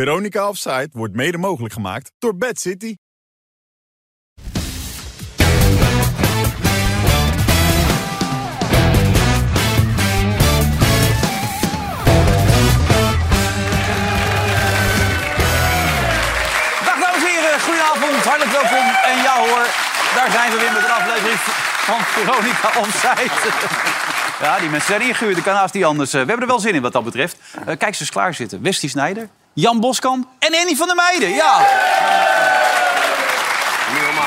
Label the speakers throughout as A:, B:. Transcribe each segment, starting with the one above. A: Veronica Offside wordt mede mogelijk gemaakt door Bad City.
B: Dag dames en heren, goedenavond, hartelijk welkom. En ja hoor, daar zijn we weer met een aflevering van Veronica Omzijd. Ja, die mensen zijn ingehuurd, dat kan haast niet anders. Eh, We hebben er wel zin in wat dat betreft. Eh, Kijk ze eens klaarzitten. Westie Snijder, Jan Boskamp en Annie van der Meijden. Ja,
C: Niet normaal.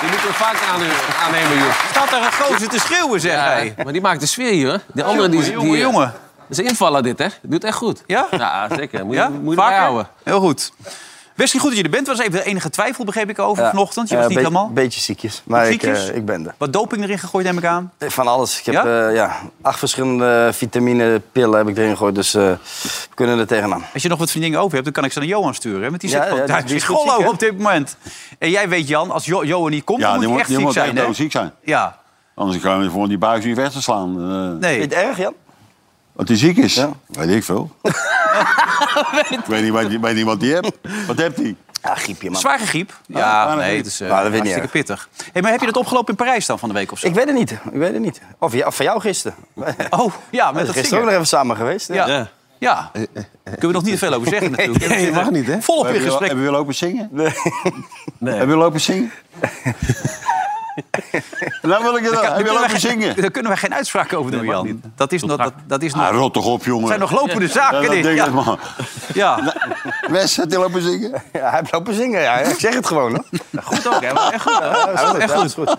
C: Die moeten we vaak aan- aannemen, joh.
B: staat daar een gozer te schreeuwen, zeg hij.
C: Maar die maakt de sfeer hier, hè? Die andere die...
B: Jongen,
C: die-
B: jongen.
C: Dat is een invaller, dit, hè? Doet echt goed.
B: Ja?
C: Ja, zeker. Moet je,
B: Ja,
C: moet je
B: vaker?
C: erbij houden.
B: Heel goed. Westie, goed dat je er bent. Er was even de enige twijfel, begreep ik, over
D: Ja.
B: vanochtend. Je
D: Ja,
B: was
D: een
B: niet
D: beetje-
B: helemaal...
D: beetje ziekjes, maar ik,
B: Ziekjes?
D: eh, ik ben er.
B: Wat doping erin gegooid, neem ik aan.
D: Van alles. Ik heb
B: Ja?
D: ja? ja, acht verschillende vitaminepillen heb ik erin gegooid, dus eh, we kunnen er tegenaan.
B: Als je nog wat vriendinnen over hebt, dan kan ik ze naar Johan sturen. hè? Want die
D: Ja,
B: zit gewoon
D: ja, die-
B: thuis
D: die
B: in
D: is goed ziek,
B: Gollo
D: hè?
B: op dit moment. En jij weet, Jan, als jo Johan niet komt,
E: Ja,
B: dan
E: die
B: moet
E: moet,
B: hij echt
E: die
B: ziek
E: moet
B: zijn.
E: echt
B: hè?
E: doodziek zijn.
B: Ja,
E: Anders gaan we gewoon die buis niet weg te slaan. eh
D: Vind
B: nee.
D: je het erg, Jan?
E: Wat hij ziek is.
D: Ja.
E: Weet ik veel. ik weet niet, wat die- weet niet wat hij heeft. Wat heeft hij?
D: Ja, griepje, man.
B: Zwaar griep.
E: Ah,
B: Ja,
E: maar dat
B: nee,
E: weet
B: het is eh,
D: Maar Nou, dat weet ik
B: hartstikke pittig. Hey, maar heb je dat opgelopen in Parijs dan van de week of zo?
D: Ik weet het niet. Ik weet het niet. Of, ja, of van jou gisteren.
B: Oh, ja, met dat
D: We zijn Eh, gisteren ook
B: zingen.
D: nog even samen geweest. hè?
B: Ja. Ja. Kunnen we nog niet veel over zeggen natuurlijk.
F: Nee, mag niet, hè?
B: Volop in
E: Hebben jullie-
B: gesprek.
E: Hebben jullie lopen zingen? Nee. Hebben jullie lopen zingen? Dan wil ik het wel.
B: Daar
E: Hebben
B: kunnen
E: jullie
B: wij
E: lopen
B: geen-
E: zingen?
B: Daar kunnen wij geen uitspraak over doen, Jan. Dat is nog... Dat, dat is nog
E: Ah, rot toch op, jongen.
B: het zijn nog lopende
E: Ja,
B: zaken,
E: dat
B: dit.
E: denk
B: Ja.
E: ik, Nou, man.
B: ja.
E: Wes, heb je lopen zingen?
D: Ja, hij heeft lopen zingen. Ja, ik zeg het gewoon. Hoor.
B: Goed ook, hè? Echt goed, hè?
D: Ja, dat is
B: Echt
D: ja, dat
B: goed.
D: is goed.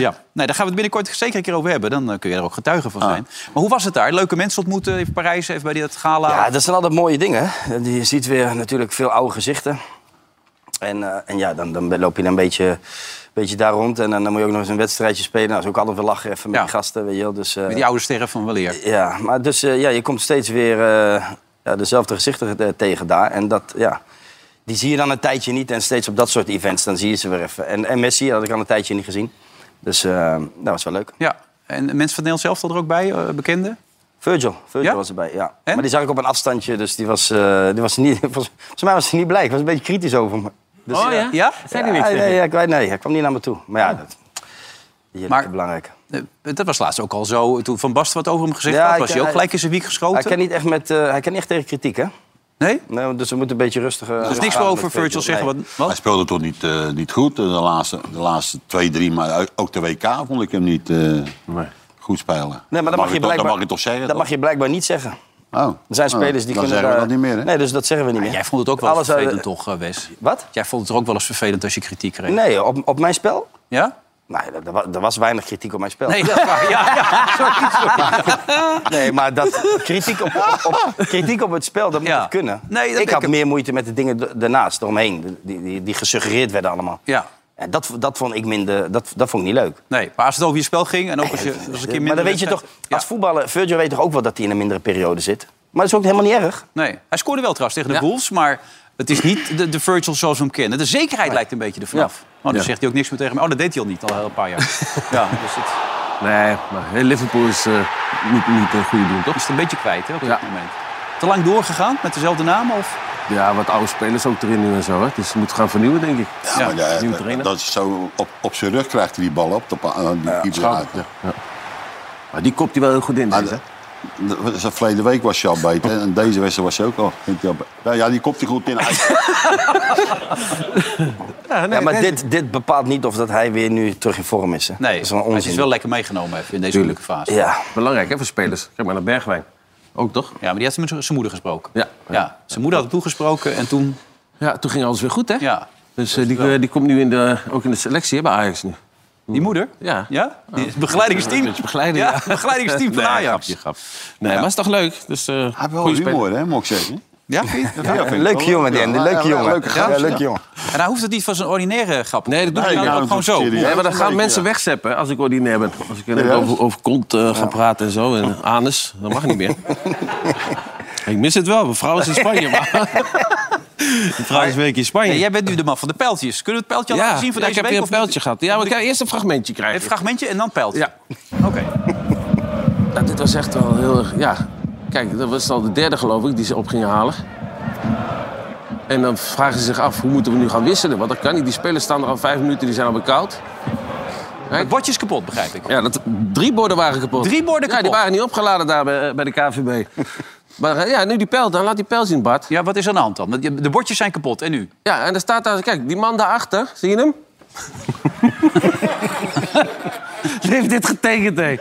B: Ja, nee, daar gaan we het binnenkort zeker een keer over hebben. Dan eh, kun je er ook getuige
D: Ah.
B: van zijn. Maar hoe was het daar? Leuke mensen ontmoeten in Parijs, even bij die- dat gala.
D: Ja, dat zijn altijd mooie dingen. hè. Je ziet weer natuurlijk veel oude gezichten. En, eh, en ja, dan, dan loop je een beetje, beetje daar rond. En dan, dan moet je ook nog eens een wedstrijdje spelen. Nou, dat is ook altijd weer lachen even met
B: Ja.
D: die gasten, weet je wel. Dus, eh,
B: Met die oude sterren van weleer.
D: Ja, maar dus eh, ja, je komt steeds weer eh, ja, dezelfde gezichten eh, tegen daar. En dat, ja, die zie je dan een tijdje niet. En steeds op dat soort events, dan zie je ze weer even. En, en Messi had ik al een tijdje niet gezien. Dus eh, dat was wel leuk.
B: Ja, en mensen van Nederland zelf er ook bij, eh, bekenden?
D: Virgil, Virgil
B: Ja?
D: was erbij, ja.
B: En?
D: Maar die zag ik op een afstandje, dus die was, eh, die was niet... Volgens volgens mij was hij niet blij, ik was een beetje kritisch over me. Dus,
C: Oh ja?
B: Ja?
C: Zijn die niks?
D: Ja,
C: tegen?
D: nee, ja, ik weet- nee, hij kwam niet naar me toe. Maar ja, dat is
B: Oh. Maar-
D: belangrijk.
B: Eh, dat was laatst ook al zo. Toen Van Basten wat over hem gezegd
D: Ja,
B: had,
D: hij
B: was
D: kan-
B: hij ook
D: hij-
B: gelijk in zijn wiek
D: Hij
B: geschoten.
D: kan niet echt, met, eh, hij kan niet echt tegen kritiek, hè?
B: Nee?
D: Nee, dus we moeten een beetje rustig...
B: Er is niks meer over Virgil zeggen. Wat,
E: Hij
B: wat?
E: speelde toch niet, eh, niet goed de laatste, de laatste twee, drie, maar ook de WK vond ik hem niet eh, goed spelen.
D: Nee, maar dat mag, je
E: ik toch-
D: blijkbaar,
E: dat mag je toch zeggen?
D: Dat
E: toch?
D: mag je blijkbaar niet zeggen. Er
E: Oh.
D: zijn spelers die
E: dan
D: kunnen
E: zeggen we
D: daar-
E: dat niet meer, hè?
D: Nee, dus dat zeggen we niet meer.
B: Jij vond het ook wel
D: Alles uit-
B: vervelend, toch, eh, Wes?
D: Wat?
B: Jij vond het er ook wel eens vervelend als je kritiek kreeg.
D: Nee, op, op mijn spel?
B: Ja?
D: Nee, er, er wa- er was weinig kritiek op mijn spel.
B: Nee, dat is waar. Ja, ja. Sorry, sorry.
D: Nee, maar dat, kritiek, op, op, kritiek op het spel, dat moet
B: Ja.
D: het kunnen.
B: Nee, dat
D: ik
B: denk
D: had
B: ik.
D: meer moeite met de dingen d- daarnaast, eromheen. Die, die, die gesuggereerd werden allemaal.
B: Ja.
D: En dat, dat vond ik minder... Dat, dat vond ik niet leuk.
B: Nee, maar als het over je spel ging en ook als je als een keer minder...
D: maar dan weet je toch...
B: wedstrijd- Ja.
D: Als voetballer... Virgil weet toch ook wel dat hij in een mindere periode zit? Maar dat is ook helemaal niet erg.
B: Nee, hij scoorde wel trouwens tegen de Wolves, maar het is niet de, de Virgil zoals we hem kennen. De zekerheid lijkt een beetje ervan af. Oh, dan zegt hij ook niks meer tegen me. Oh, dat deed hij al niet, al een paar jaar. ja, dus het
C: Nee, maar hey, Liverpool is eh, niet, niet een goede doen, toch?
B: is het een beetje kwijt hè, op dit
C: Ja.
B: moment. Te lang doorgegaan met dezelfde naam? Of?
C: Ja, wat oude spelers ook erin nu en zo, hè. Dus ze moeten gaan vernieuwen, denk ik.
E: Ja, maar ja,
C: nieuwe trainer.
E: dat is zo op, op zijn rug krijgt hij die bal op. De, pa- eh, die keeper uit.
C: Ja, ja. Maar die kopt hij wel heel goed in,
E: Maar
C: deze, hè?
E: de- de- de- Verleden week was je al beter en deze wedstrijd was je ook al. ging hij al be- Nou Ja, die kopt hij goed in. Hij-
C: Ah,
D: ja, maar dit, dit bepaalt niet of dat hij weer nu terug in vorm is. Hè.
B: Nee,
D: dat is wel
B: maar het
D: onzin.
B: is wel lekker meegenomen even in deze moeilijke fase. Ja.
D: Ja.
C: Belangrijk, hè, voor spelers. Kijk maar naar Bergwijn. Ook, toch?
B: maar die had met zijn moeder gesproken.
C: Ja.
B: ja. Zijn moeder had hem toegesproken en toen...
C: Ja, toen ging alles weer goed, hè?
B: Ja.
C: Dus eh, die, eh, die komt nu in de, ook in de selectie hè, bij Ajax nu.
B: Die moeder?
C: Ja.
B: Ja? Die is begeleidingsteam.
C: Beetje begeleiding, ja.
B: begeleidingsteam van
C: Nee,
B: Ajax.
C: grapje, grapje. Nee, maar is toch leuk? Dus, eh
E: Hij heeft wel
C: goede speler.
E: humor, hè, moet ik zeggen.
B: Ja, vind je?
E: Ja, vind ik
D: Leuke
E: wel.
D: jongen, die Andy.
E: Ja,
D: Leuke
E: ja,
D: jongen.
E: Leuke gast,
D: Ja, leuke jongen.
B: En hij hoeft het niet van zijn ordinaire grap.
C: Nee, dat doet hij
B: hij
C: niet.
B: ook
E: Ja,
B: gewoon zo.
E: dat is
C: Nee, maar dan
E: Ja,
C: gaan
E: leuk,
C: mensen
E: ja.
C: wegzeppen als ik ordinair ben. Als ik eh,
E: Ja.
C: over, over kont eh, ga praten en zo, en anus, dat mag niet meer. ik mis het wel, mijn vrouw is in Spanje. Maar... Mijn vrouw is een week in Spanje.
B: Ja, jij bent nu de man van de pijltjes. Kunnen we het pijltje al
C: Ja,
B: laten zien voor
C: ja,
B: deze
C: ik heb
B: week?
C: weer een
B: of
C: pijltje gehad. Ja, maar ik ga eerst een fragmentje
B: Een
C: krijgen.
B: fragmentje en dan pijltje.
C: Ja.
B: Oké.
C: Nou, dit was echt wel heel erg. Ja, kijk, dat was al de derde geloof ik die ze op gingen halen. En dan vragen ze zich af, hoe moeten we nu gaan wisselen? Want dat kan niet. Die spelers staan er al vijf minuten, die zijn al bekoud.
B: Het bordje is kapot, begrijp ik.
C: Ja, dat, drie borden waren kapot.
B: Drie borden
C: Ja, die
B: kapot.
C: waren niet opgeladen daar bij, eh, bij de KVB. maar eh, ja, nu die pijl, dan laat die pijl zien, Bart.
B: Ja, wat is er aan de hand dan? Want je- De bordjes zijn kapot. En nu?
C: Ja, en er staat daar, kijk, die man daarachter, zie je hem? Die heeft dit getekend, hé.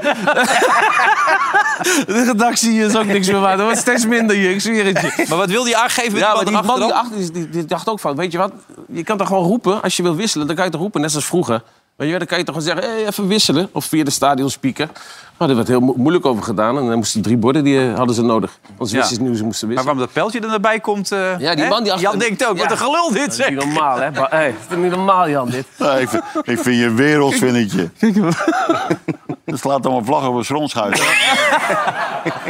C: De redactie is ook niks meer waard. Er wordt steeds minder hier, ik zweer het je.
B: Maar wat wil die aangeven met
C: Ja, maar
B: die
C: die
B: man
C: man die
B: erachter
C: achter is, die, die dacht ook van, weet je wat? Je kan toch gewoon roepen, als je wil wisselen, dan kan je toch roepen, net zoals vroeger. Weet je, wel, dan kan je toch gewoon zeggen, hey, even wisselen. Of via de stadionspeaker. Maar daar werd heel mo- moeilijk over gedaan. En dan moesten drie borden, die eh, hadden ze nodig. Anders
B: Ja.
C: wisten ze niet hoe ze moesten
B: Maar
C: wisselen.
B: waarom dat pijltje er naar bij komt... eh,
C: Ja, die
B: hè?
C: man die achter-
B: Jan denkt ook, wat
C: Ja.
B: een gelul dit zeg.
C: niet normaal, hè? Maar, hey, het is niet normaal, Jan, dit.
E: Ja, ik, vind, ik vind je een wereldvinnetje. Dat slaat allemaal vlag over schronschuit.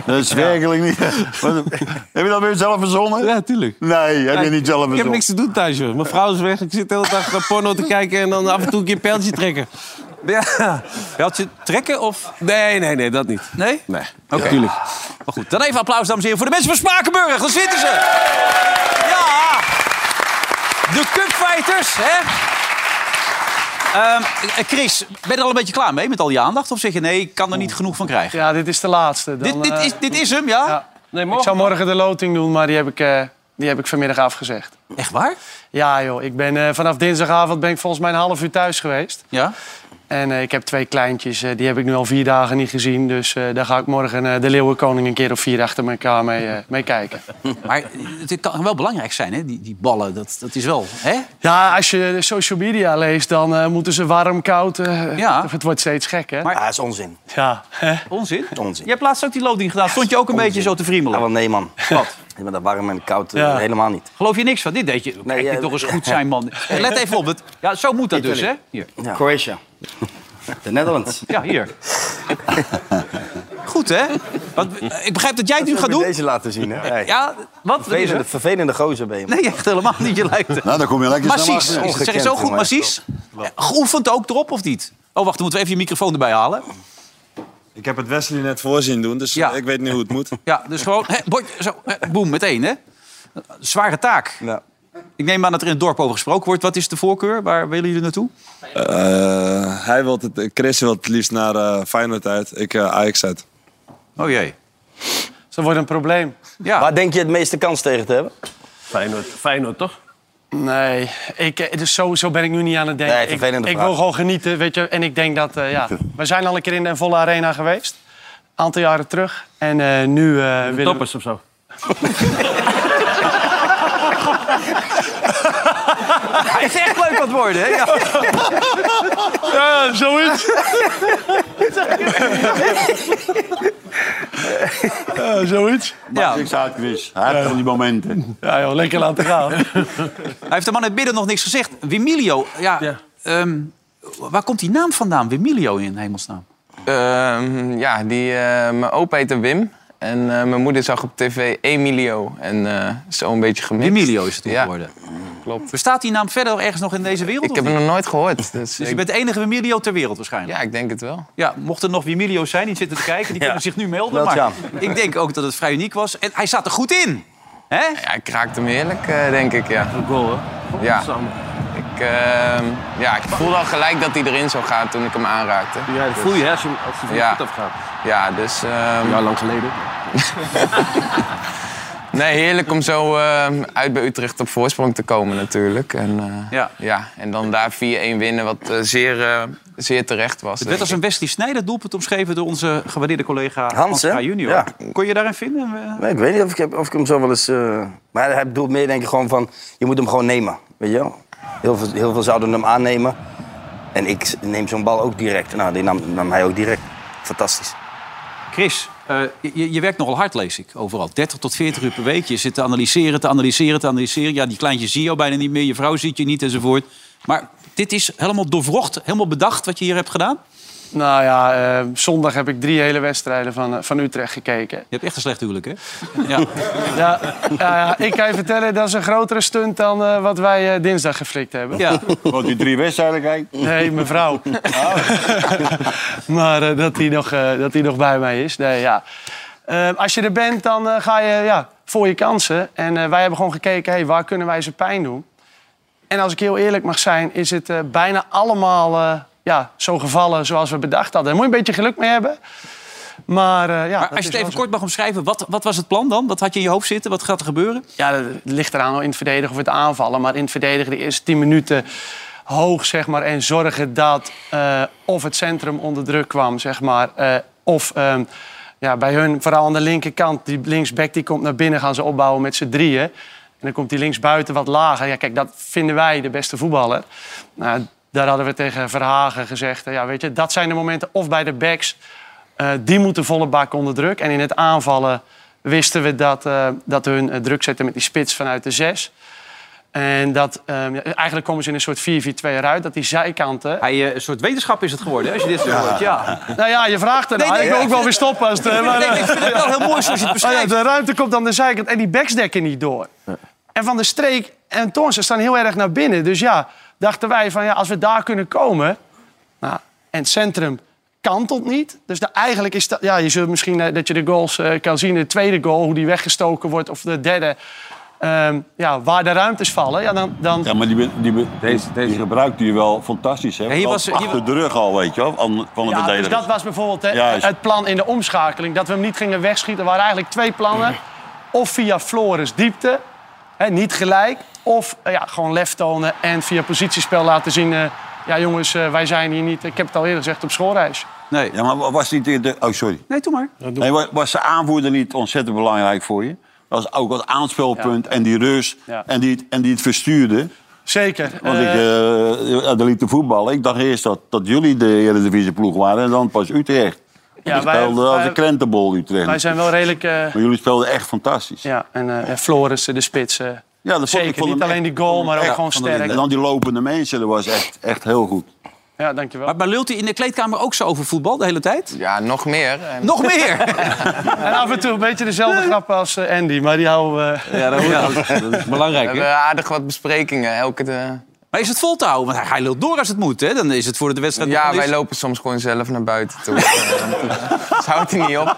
E: dat is werkelijk niet. Wat- heb je dat weer zelf verzonnen?
C: Ja, tuurlijk.
E: Nee, heb je niet zelf
C: Ik heb
E: verzonnen.
C: niks te doen thuis, joh. Mijn vrouw is weg. Ik zit de hele dag naar porno te kijken en dan af en toe een keer een pijltje trekken.
B: Ja. Pijltje trekken of...
C: Nee, nee, nee, dat niet.
B: Nee?
C: Nee,
B: Oké.
C: tuurlijk.
B: Maar goed, dan even applaus, dames en heren, voor de mensen van Spakenburg. Daar zitten ze. Ja! De Cupfighters, hè? Ehm, eh, Chris, ben je er al een beetje klaar mee met al die aandacht? Of zeg je nee, ik kan er niet genoeg van krijgen?
F: Ja, dit is de laatste. Dan,
B: dit, dit,
F: eh,
B: is, dit is hem, ja?
F: ja.
C: Nee,
F: Ik zou morgen de loting doen, maar die heb ik, eh, die heb ik vanmiddag afgezegd.
B: Echt waar?
F: Ja joh, ik ben, eh, vanaf dinsdagavond ben ik volgens mij een half uur thuis geweest.
B: Ja.
F: En eh, ik heb twee kleintjes, eh, die heb ik nu al vier dagen niet gezien. Dus eh, daar ga ik morgen eh, de Leeuwenkoning een keer of vier achter elkaar mee, eh, mee kijken.
B: Maar het kan wel belangrijk zijn, hè? Die, die ballen, dat, dat is wel... Hè?
F: Ja, als je de social media leest, dan eh, moeten ze warm, koud. eh,
B: Ja.
F: Het wordt steeds gek, hè?
B: Maar-
D: Ah, dat is onzin.
F: Ja.
B: Onzin.
D: Onzin.
B: Je hebt laatst ook die loting gedaan. Stond je ook een beetje zo te
D: Ah,
B: friemelen?
D: wel nee, man.
B: Wat?
D: Ik ben daar warm en koud eh,
F: Ja.
D: helemaal niet.
B: Geloof je niks van? Dit deed je. Kijk,
D: ja,
B: dit toch eens
D: ja.
B: goed zijn, man. Eh, Let even op. Het, ja, zo moet dat dus, hè?
D: Italy.
B: Hier.
D: Ja. Croatia. De Netherlands.
B: Ja, hier. Goed, hè? Want, eh, ik begrijp dat jij het nu gaat doen.
D: Deze laten zien, hè? Hey.
B: Ja, wat? Dat is
D: Vervelende,
B: er.
D: vervelende gozer ben je. man.
B: Nee, echt helemaal niet. Je lijkt het.
E: Nou, dan kom je lekker snel
B: Massies.
E: achter.
D: ongekend,
B: Zeg je zo goed,
D: jongen.
B: massies? Eh, Geoefend ook erop, of niet? Oh, wacht, dan moeten we even je microfoon erbij halen.
G: Ik heb het Wesley net voorzien doen, dus
B: Ja.
G: ik weet nu hoe het moet.
B: Ja, dus gewoon, hè, bord, zo, hè, boem, meteen, hè? Zware taak.
D: Ja.
B: Ik neem aan dat er in het dorp over gesproken wordt. Wat is de voorkeur? Waar willen jullie naartoe?
G: Eh, hij wil het, Chris wil het liefst naar eh Feyenoord uit, ik eh, Ajax uit.
B: Oh jee.
F: Dus dat wordt een probleem.
B: Ja.
D: Waar denk je het meeste kans tegen te hebben?
C: Feyenoord, Feyenoord, toch?
F: Nee, ik, eh, dus zo, zo ben ik nu niet aan het denken.
D: Nee,
F: ik,
D: vervelende
F: ik
D: vraag.
F: wil gewoon genieten, weet je. En ik denk dat, eh, ja, we zijn al een keer in de volle arena geweest. Een aantal jaren terug. En eh, nu eh willen we-
C: Toppers of zo.
B: Hij is echt leuk aan het worden, hè? Ja.
F: Ja, zoiets. ja, zoiets.
B: Ja.
E: Ik zei het, Chris. Hij heeft van die momenten.
F: Ja, joh, lekker laten gaan.
B: Hij heeft de man in het midden nog niks gezegd. Wimilio, ja.
C: Ja.
B: ehm, waar komt die naam vandaan? Wimilio in hemelsnaam.
H: Ehm, ja, die, eh, mijn opa heette Wim. En eh, mijn moeder zag op tv Emilio. En eh zo een beetje gemixt.
B: Wimilio is het toen
H: Ja,
B: geworden.
H: klopt.
B: Bestaat die naam verder ergens nog in deze wereld?
H: Ik
B: of
H: heb
B: niet?
H: hem nog nooit gehoord. Dus,
B: Dus je
H: ik-
B: bent de enige Wimilio ter wereld waarschijnlijk.
H: Ja, ik denk het wel.
B: Ja, mochten er nog Wimilio's zijn die zitten te kijken, die kunnen zich nu melden.
D: Meld je
B: Maar ik denk ook dat het vrij uniek was. En hij zat er goed in. Hè?
H: Ja, ik raakte hem heerlijk, eh, denk ik, ja.
C: Een goal, hè?
H: Ja.
C: Samen.
H: Ik, ehm, ja. ik voelde al gelijk dat hij erin zou gaan toen ik hem aanraakte. Dus
C: Ja, dat voel je, hè, als je hem- als hij van
H: Ja.
C: de voet afgaat.
H: Ja, dus... ehm,
C: Ja, lang geleden.
H: Nee, heerlijk om zo ehm, uit bij Utrecht op voorsprong te komen natuurlijk. En, eh,
B: Ja.
H: en dan daar 4-1 winnen, wat eh, zeer, eh, zeer terecht was.
B: Het
H: denk
B: werd als
H: ik.
B: een Wesley Snijder doelpunt omschreven door onze gewaardeerde collega
D: Hans,
B: Hans
D: hè?
B: Kraaij junior.
D: Ja.
B: Kon je daarin vinden? Eh,
D: Nee, ik weet niet of ik, heb, of ik hem zo wel eens... eh, Maar hij bedoelt meer denk ik gewoon van... Je moet hem gewoon nemen, weet je wel? Heel veel, heel veel zouden hem aannemen. En ik s- neem zo'n bal ook direct. Nou, die nam, nam hij ook direct. Fantastisch.
B: Chris, eh, je, je werkt nogal hard, lees ik, overal. 30 tot 40 uur per week. Je zit te analyseren, te analyseren, te analyseren. Ja, die kleintjes zie je al bijna niet meer. Je vrouw ziet je niet, enzovoort. Maar dit is helemaal doorvrocht, helemaal bedacht wat je hier hebt gedaan.
F: Nou ja, eh, zondag heb ik drie hele wedstrijden van, eh, van Utrecht gekeken.
B: Je hebt echt een slecht huwelijk, hè? Ja.
F: Ja, ja, ja, ik kan je vertellen, dat is een grotere stunt dan eh, wat wij eh, dinsdag geflikt hebben.
B: ja.
E: Want die drie wedstrijden kijkt.
F: Nee, mevrouw. maar eh, dat hij nog, eh, dat hij nog bij mij is. Nee, ja. eh, als je er bent, dan eh, ga je ja, voor je kansen. En eh, wij hebben gewoon gekeken, hey, waar kunnen wij ze pijn doen? En als ik heel eerlijk mag zijn, is het eh, bijna allemaal eh, ja, zo gevallen zoals we bedacht hadden. Daar moet je een beetje geluk mee hebben. Maar, eh, ja,
B: Maar
F: dat
B: als je
F: is
B: het
F: wel
B: even
F: zo.
B: kort mag omschrijven, wat, wat was het plan dan? Wat had je in je hoofd zitten? Wat gaat er gebeuren?
F: Ja, dat ligt eraan in het verdedigen of het aanvallen. Maar in het verdedigen de eerste 10 minuten hoog, zeg maar. En zorgen dat eh, of het centrum onder druk kwam, zeg maar. eh, of ehm, ja, bij hun, vooral aan de linkerkant, die linksback die komt naar binnen, gaan ze opbouwen met z'n drieën. En dan komt die linksbuiten wat lager. Ja, kijk, dat vinden wij de beste voetballer. Nou, daar hadden we tegen Verhagen gezegd. eh, Ja, weet je, dat zijn de momenten of bij de backs. eh, die moeten volle bak onder druk. En in het aanvallen wisten we dat, eh, dat hun eh, druk zetten met die spits vanuit de zes. En dat, eh, ja, eigenlijk komen ze in een soort 4-4-2 eruit. Dat die zijkanten...
B: Hij, eh, een soort wetenschap is het geworden, hè, als je dit zo hoort. Ja.
F: Nou ja, je vraagt ernaar.
B: Nee, nee,
F: ik wil
B: ja,
F: ook wel weer stoppen. Als het, eh, maar,
B: Nee,
F: eh,
B: ik vind het wel heel mooi zoals je het
F: maar ja,
B: beschrijft.
F: de ruimte komt aan de zijkant en die backs dekken niet door. En Van de Streek en Toornsen staan heel erg naar binnen. Dus ja, dachten wij van ja, als we daar kunnen komen... Nou, en het centrum kantelt niet. Dus da- eigenlijk is dat... Ja, je zult misschien eh, dat je de goals eh, kan zien. De tweede goal, hoe die weggestoken wordt. Of de derde. Ehm, ja, waar de ruimtes vallen. Ja, dan, dan,
E: Ja, maar die, be- die, be-
G: Deze-
E: die
G: deze.
E: gebruikte je wel fantastisch, hè?
B: hier
E: Wel
B: was- hier
E: achter
B: wa-
E: de rug al, weet je wel, van van de
F: Ja, dus
E: verdediger.
F: dat was bijvoorbeeld hè,
E: Juist.
F: het plan in de omschakeling. Dat we hem niet gingen wegschieten. Er waren eigenlijk twee plannen. Of via Flores diepte, hè, niet gelijk. Of eh, ja, gewoon lef tonen en via positiespel laten zien... eh, ja jongens, eh, wij zijn hier niet, ik heb het al eerder gezegd, op schoolreis.
B: Nee.
E: Ja, maar was niet de... de- Oh, sorry.
B: nee, doe maar.
E: Nee, wa- was de aanvoerder niet ontzettend belangrijk voor je? Dat was ook als aanspelpunt en die rust
F: Ja.
E: en, die, en die het verstuurde.
F: Zeker.
E: Want ik,
F: Eh,
E: eh ja, daar liep te voetballen. Ik dacht eerst dat, dat jullie de Eredivisieploeg waren en dan pas Utrecht.
F: ja,
E: Ja,
F: wij,
E: speelde als
F: wij-
E: een krentenbol Utrecht.
F: wij zijn wel redelijk... eh,
E: Maar jullie speelden echt fantastisch. Ja,
F: ja, en eh, en Flores, eh, de spits. eh,
E: dat vond
F: zeker,
E: ik vond
F: niet
E: hem
F: alleen
E: echt-
F: die goal, maar ook
E: Ja,
F: gewoon
E: van de Linden. En dan
F: sterk.
E: die lopende mensen, dat was echt, echt heel goed.
F: Ja, dankjewel.
B: Maar, maar lult hij in de kleedkamer ook zo over voetbal de hele tijd?
H: Ja, nog meer. En-
B: Nog meer!
F: En af en toe een beetje dezelfde grap als eh, Andy, maar die houden we...
B: Ja, dat, is belangrijk.
H: We hebben aardig wat besprekingen. Elke eh, de-
B: Maar is het vol te houden? Want hij- hij lult door als het moet, hè? Dan is het voor de wedstrijd...
H: Ja,
B: nog wel
H: wij
B: eens-
H: lopen soms gewoon zelf naar buiten toe. Dus houdt hij niet op.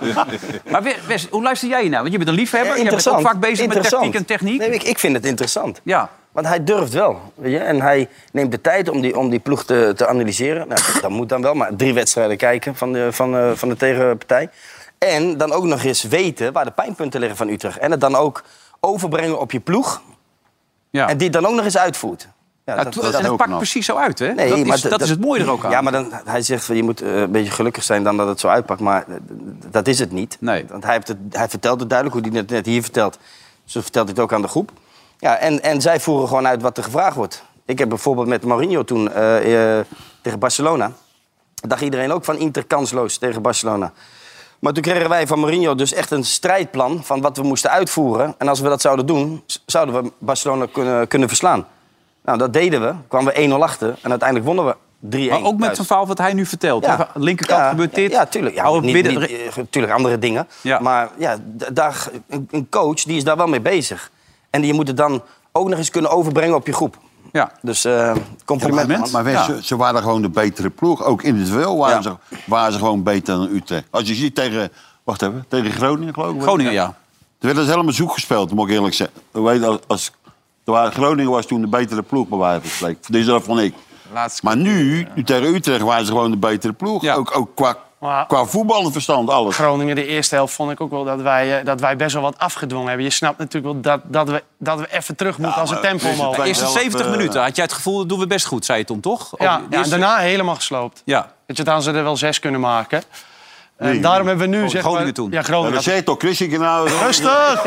B: Maar Wes- Wes, hoe luister jij nou? Want je bent een liefhebber. je bent ook vaak bezig met
D: Eh, Interessant.
B: tactiek en techniek.
D: Nee, ik, ik vind het interessant.
B: Ja. Nou,
D: Want hij durft wel. Weet je? En hij neemt de tijd om die, om die ploeg te, te analyseren. Nou, dat moet dan wel, maar drie wedstrijden kijken van de, van, eh, van de tegenpartij. En dan ook nog eens weten waar de pijnpunten liggen van Utrecht. En het dan ook overbrengen op je ploeg.
B: ja.
D: En die het dan ook nog eens uitvoert. Ja,
B: Ja,
D: dat-
B: to-
D: dat-
B: en het
E: ook
B: pakt
E: knap.
B: precies zo uit, hè?
D: Nee,
B: dat is,
D: maar
B: dat is het mooie er ook aan.
D: Ja, maar dan, hij zegt, van, je moet eh, een beetje gelukkig zijn dan dat het zo uitpakt. Maar eh, d- dat is het niet.
B: Nee.
D: Want hij, heeft het, hij vertelt het duidelijk, hoe hij het net hier vertelt. Zo vertelt hij het ook aan de groep. Ja, en, en zij voeren gewoon uit wat er gevraagd wordt. Ik heb bijvoorbeeld met Mourinho toen eh, eh, tegen Barcelona... dacht iedereen ook van Inter kansloos tegen Barcelona. Maar toen kregen wij van Mourinho dus echt een strijdplan... van wat we moesten uitvoeren. En als we dat zouden doen, z- zouden we Barcelona kunnen, kunnen verslaan. Nou, dat deden we. Kwamen we 1-0 achter. En uiteindelijk wonnen we 3-1.
B: Maar ook met
D: thuis.
B: zijn verhaal wat hij nu vertelt. hè? Aan de linkerkant
D: Ja,
B: gebeurt dit.
D: Ja, tuurlijk. Ja,
B: Hou het
D: niet,
B: midden-
D: niet, eh, tuurlijk andere dingen.
B: Ja.
D: Maar ja, d- daar, een- een coach die is daar wel mee bezig. En die moet het dan ook nog eens kunnen overbrengen op je groep.
B: ja.
D: Dus eh compliment.
E: Maar, maar Wes,
B: Ja.
E: ze, ze waren gewoon de betere ploeg. Ook individueel waren,
B: Ja.
E: ze, waren ze gewoon beter dan Utrecht. Als je ziet tegen... Wacht even, tegen Groningen geloof ik.
B: Groningen, ja.
E: Toen werd het helemaal zoek gespeeld, moet ik eerlijk zeggen. Weet, je, als, als, toen waren- Groningen was toen de betere ploeg, bij wijze van spreken. Dus dat vond ik.
H: Laatste
E: Maar nu, nu tegen Utrecht, waren ze gewoon de betere ploeg.
B: Ja.
E: Ook, ook qua,
F: Maar-
E: qua voetbalverstand, alles.
F: Groningen, de eerste helft, vond ik ook wel dat wij, eh, dat wij best wel wat afgedwongen hebben. Je snapt natuurlijk wel dat, dat, we, dat we even terug moeten als een tempo
E: deze
F: omhoog.
E: twee-
B: Eerste
E: Wel,
B: 70
E: eh,
B: minuten had jij het gevoel, dat doen we best goed, zei je Tom, toch? Ook
F: Ja,
B: die
F: ja, en
B: eerste-
F: daarna helemaal gesloopt.
B: Ja.
F: Dat je dan ze er wel zes kunnen maken. En daarom hebben we nu... zeg
B: Oh, Groningen
F: maar-
B: toen.
F: Ja,
E: Ja,
F: Groningen.
E: dat zei je toch, Christian nou.
F: Rustig!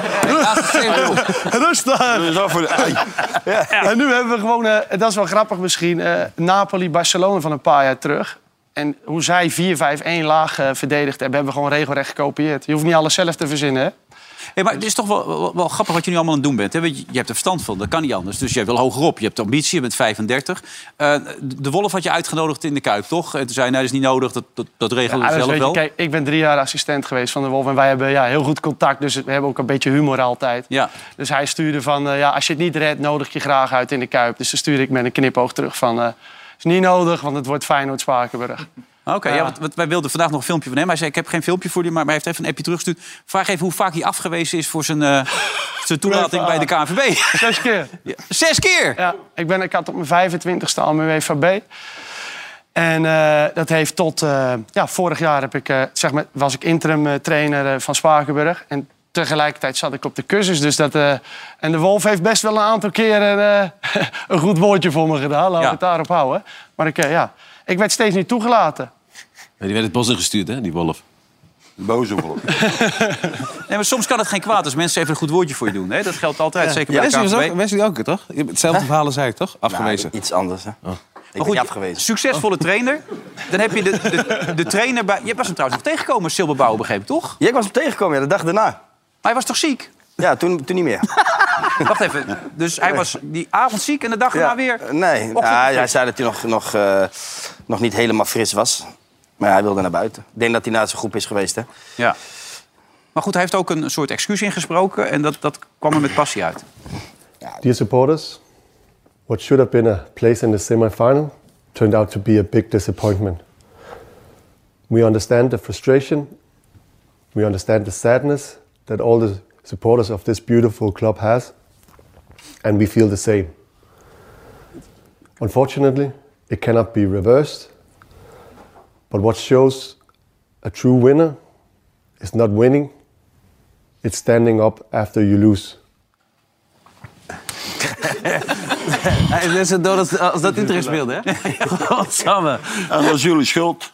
F: Rustig!
E: Dat is af voor de- Hey.
F: En nu hebben we gewoon, eh, dat is wel grappig misschien, eh, Napoli-Barcelona van een paar jaar terug. En hoe zij 4-5-1 laag eh, verdedigd hebben, hebben we gewoon regelrecht gekopieerd. Je hoeft niet alles zelf te verzinnen, hè?
B: Hey, maar het is toch wel, wel, wel grappig wat je nu allemaal aan het doen bent. Hè? Want je je hebt er verstand van, dat kan niet anders. Dus jij wil hogerop. Je hebt ambitie, je bent 35. Eh, de Wolf had je uitgenodigd in de Kuip, toch? En toen zei hij, nee, dat is niet nodig, dat, dat, dat regelen
F: Ja,
B: we
F: dus
B: zelf
F: weet je,
B: wel.
F: kijk, ik ben drie jaar assistent geweest van de Wolf. En wij hebben ja, heel goed contact, dus we hebben ook een beetje humor altijd.
B: Ja.
F: Dus hij stuurde van, eh, ja, als je het niet redt, nodig ik je graag uit in de Kuip. Dus dan stuurde ik met een knipoog terug van, eh, is niet nodig, want het wordt Feyenoord-Spakenburg.
B: Ah, Oké, ja.
F: Ja.
B: want, want wij wilden vandaag nog een filmpje van hem. Hij zei, ik heb geen filmpje voor u, maar maar hij heeft even een appje teruggestuurd. Vraag even hoe vaak hij afgewezen is voor zijn, eh, zijn toelating bij de KNVB.
F: Zes keer.
B: Zes keer!
F: Ja, ik, ben, ik had op mijn 25ste al mijn UEFA B. En eh, dat heeft tot... eh, ja, vorig jaar heb ik, eh, zeg maar, was ik interim eh, trainer eh, van Spakenburg. En tegelijkertijd zat ik op de cursus. Dus dat, eh, en de Wolf heeft best wel een aantal keer een, eh, een goed woordje voor me gedaan. Laten we
B: Ja.
F: het daarop houden. Maar ik, eh, ja, ik werd steeds niet toegelaten.
C: Die werd het bos ingestuurd, hè, die wolf.
E: Boze voor.
B: Nee, maar soms kan het geen kwaad als mensen even een goed woordje voor je doen. Hè? Dat geldt altijd, zeker bij de
C: Wesley, was ook,
B: KNVB.
C: Wesley ook, toch? Je hebt Hetzelfde verhaal als hij, toch?
D: Ja,
C: Afgewezen.
D: iets anders, hè. Ik ben afgewezen. Oh.
B: succesvolle trainer. Dan heb je de, de, de trainer bij... Je was hem trouwens nog tegengekomen, Silberbouw, begreep ik, toch?
D: Ja, ik was hem tegengekomen ja, de dag daarna.
B: Maar hij was toch ziek?
D: Ja, toen, toen niet meer.
B: Wacht even. Dus hij was die avond ziek en de dag daarna
D: Ja,
B: weer...
D: eh, Nee,
B: Ochtend-
D: ja, hij zei dat hij nog, nog, eh, nog niet helemaal fris was. Maar hij wilde naar buiten. Ik denk dat hij naar zijn groep is geweest, hè.
B: Ja. Maar goed, hij heeft ook een soort excuus ingesproken. En dat, dat kwam er met passie uit.
I: Dear supporters, what should have been a place in the semi-final turned out to be a big disappointment. We understand the frustration, we understand the sadness that all the supporters of this beautiful club has, and we feel the same. Unfortunately, it cannot be reversed. But what shows a true winner is not winning, it's standing up after you lose.
C: Hij is net zo dood als, als dat interesse speelde, hè? Godsamme.
E: En dat is jullie schuld.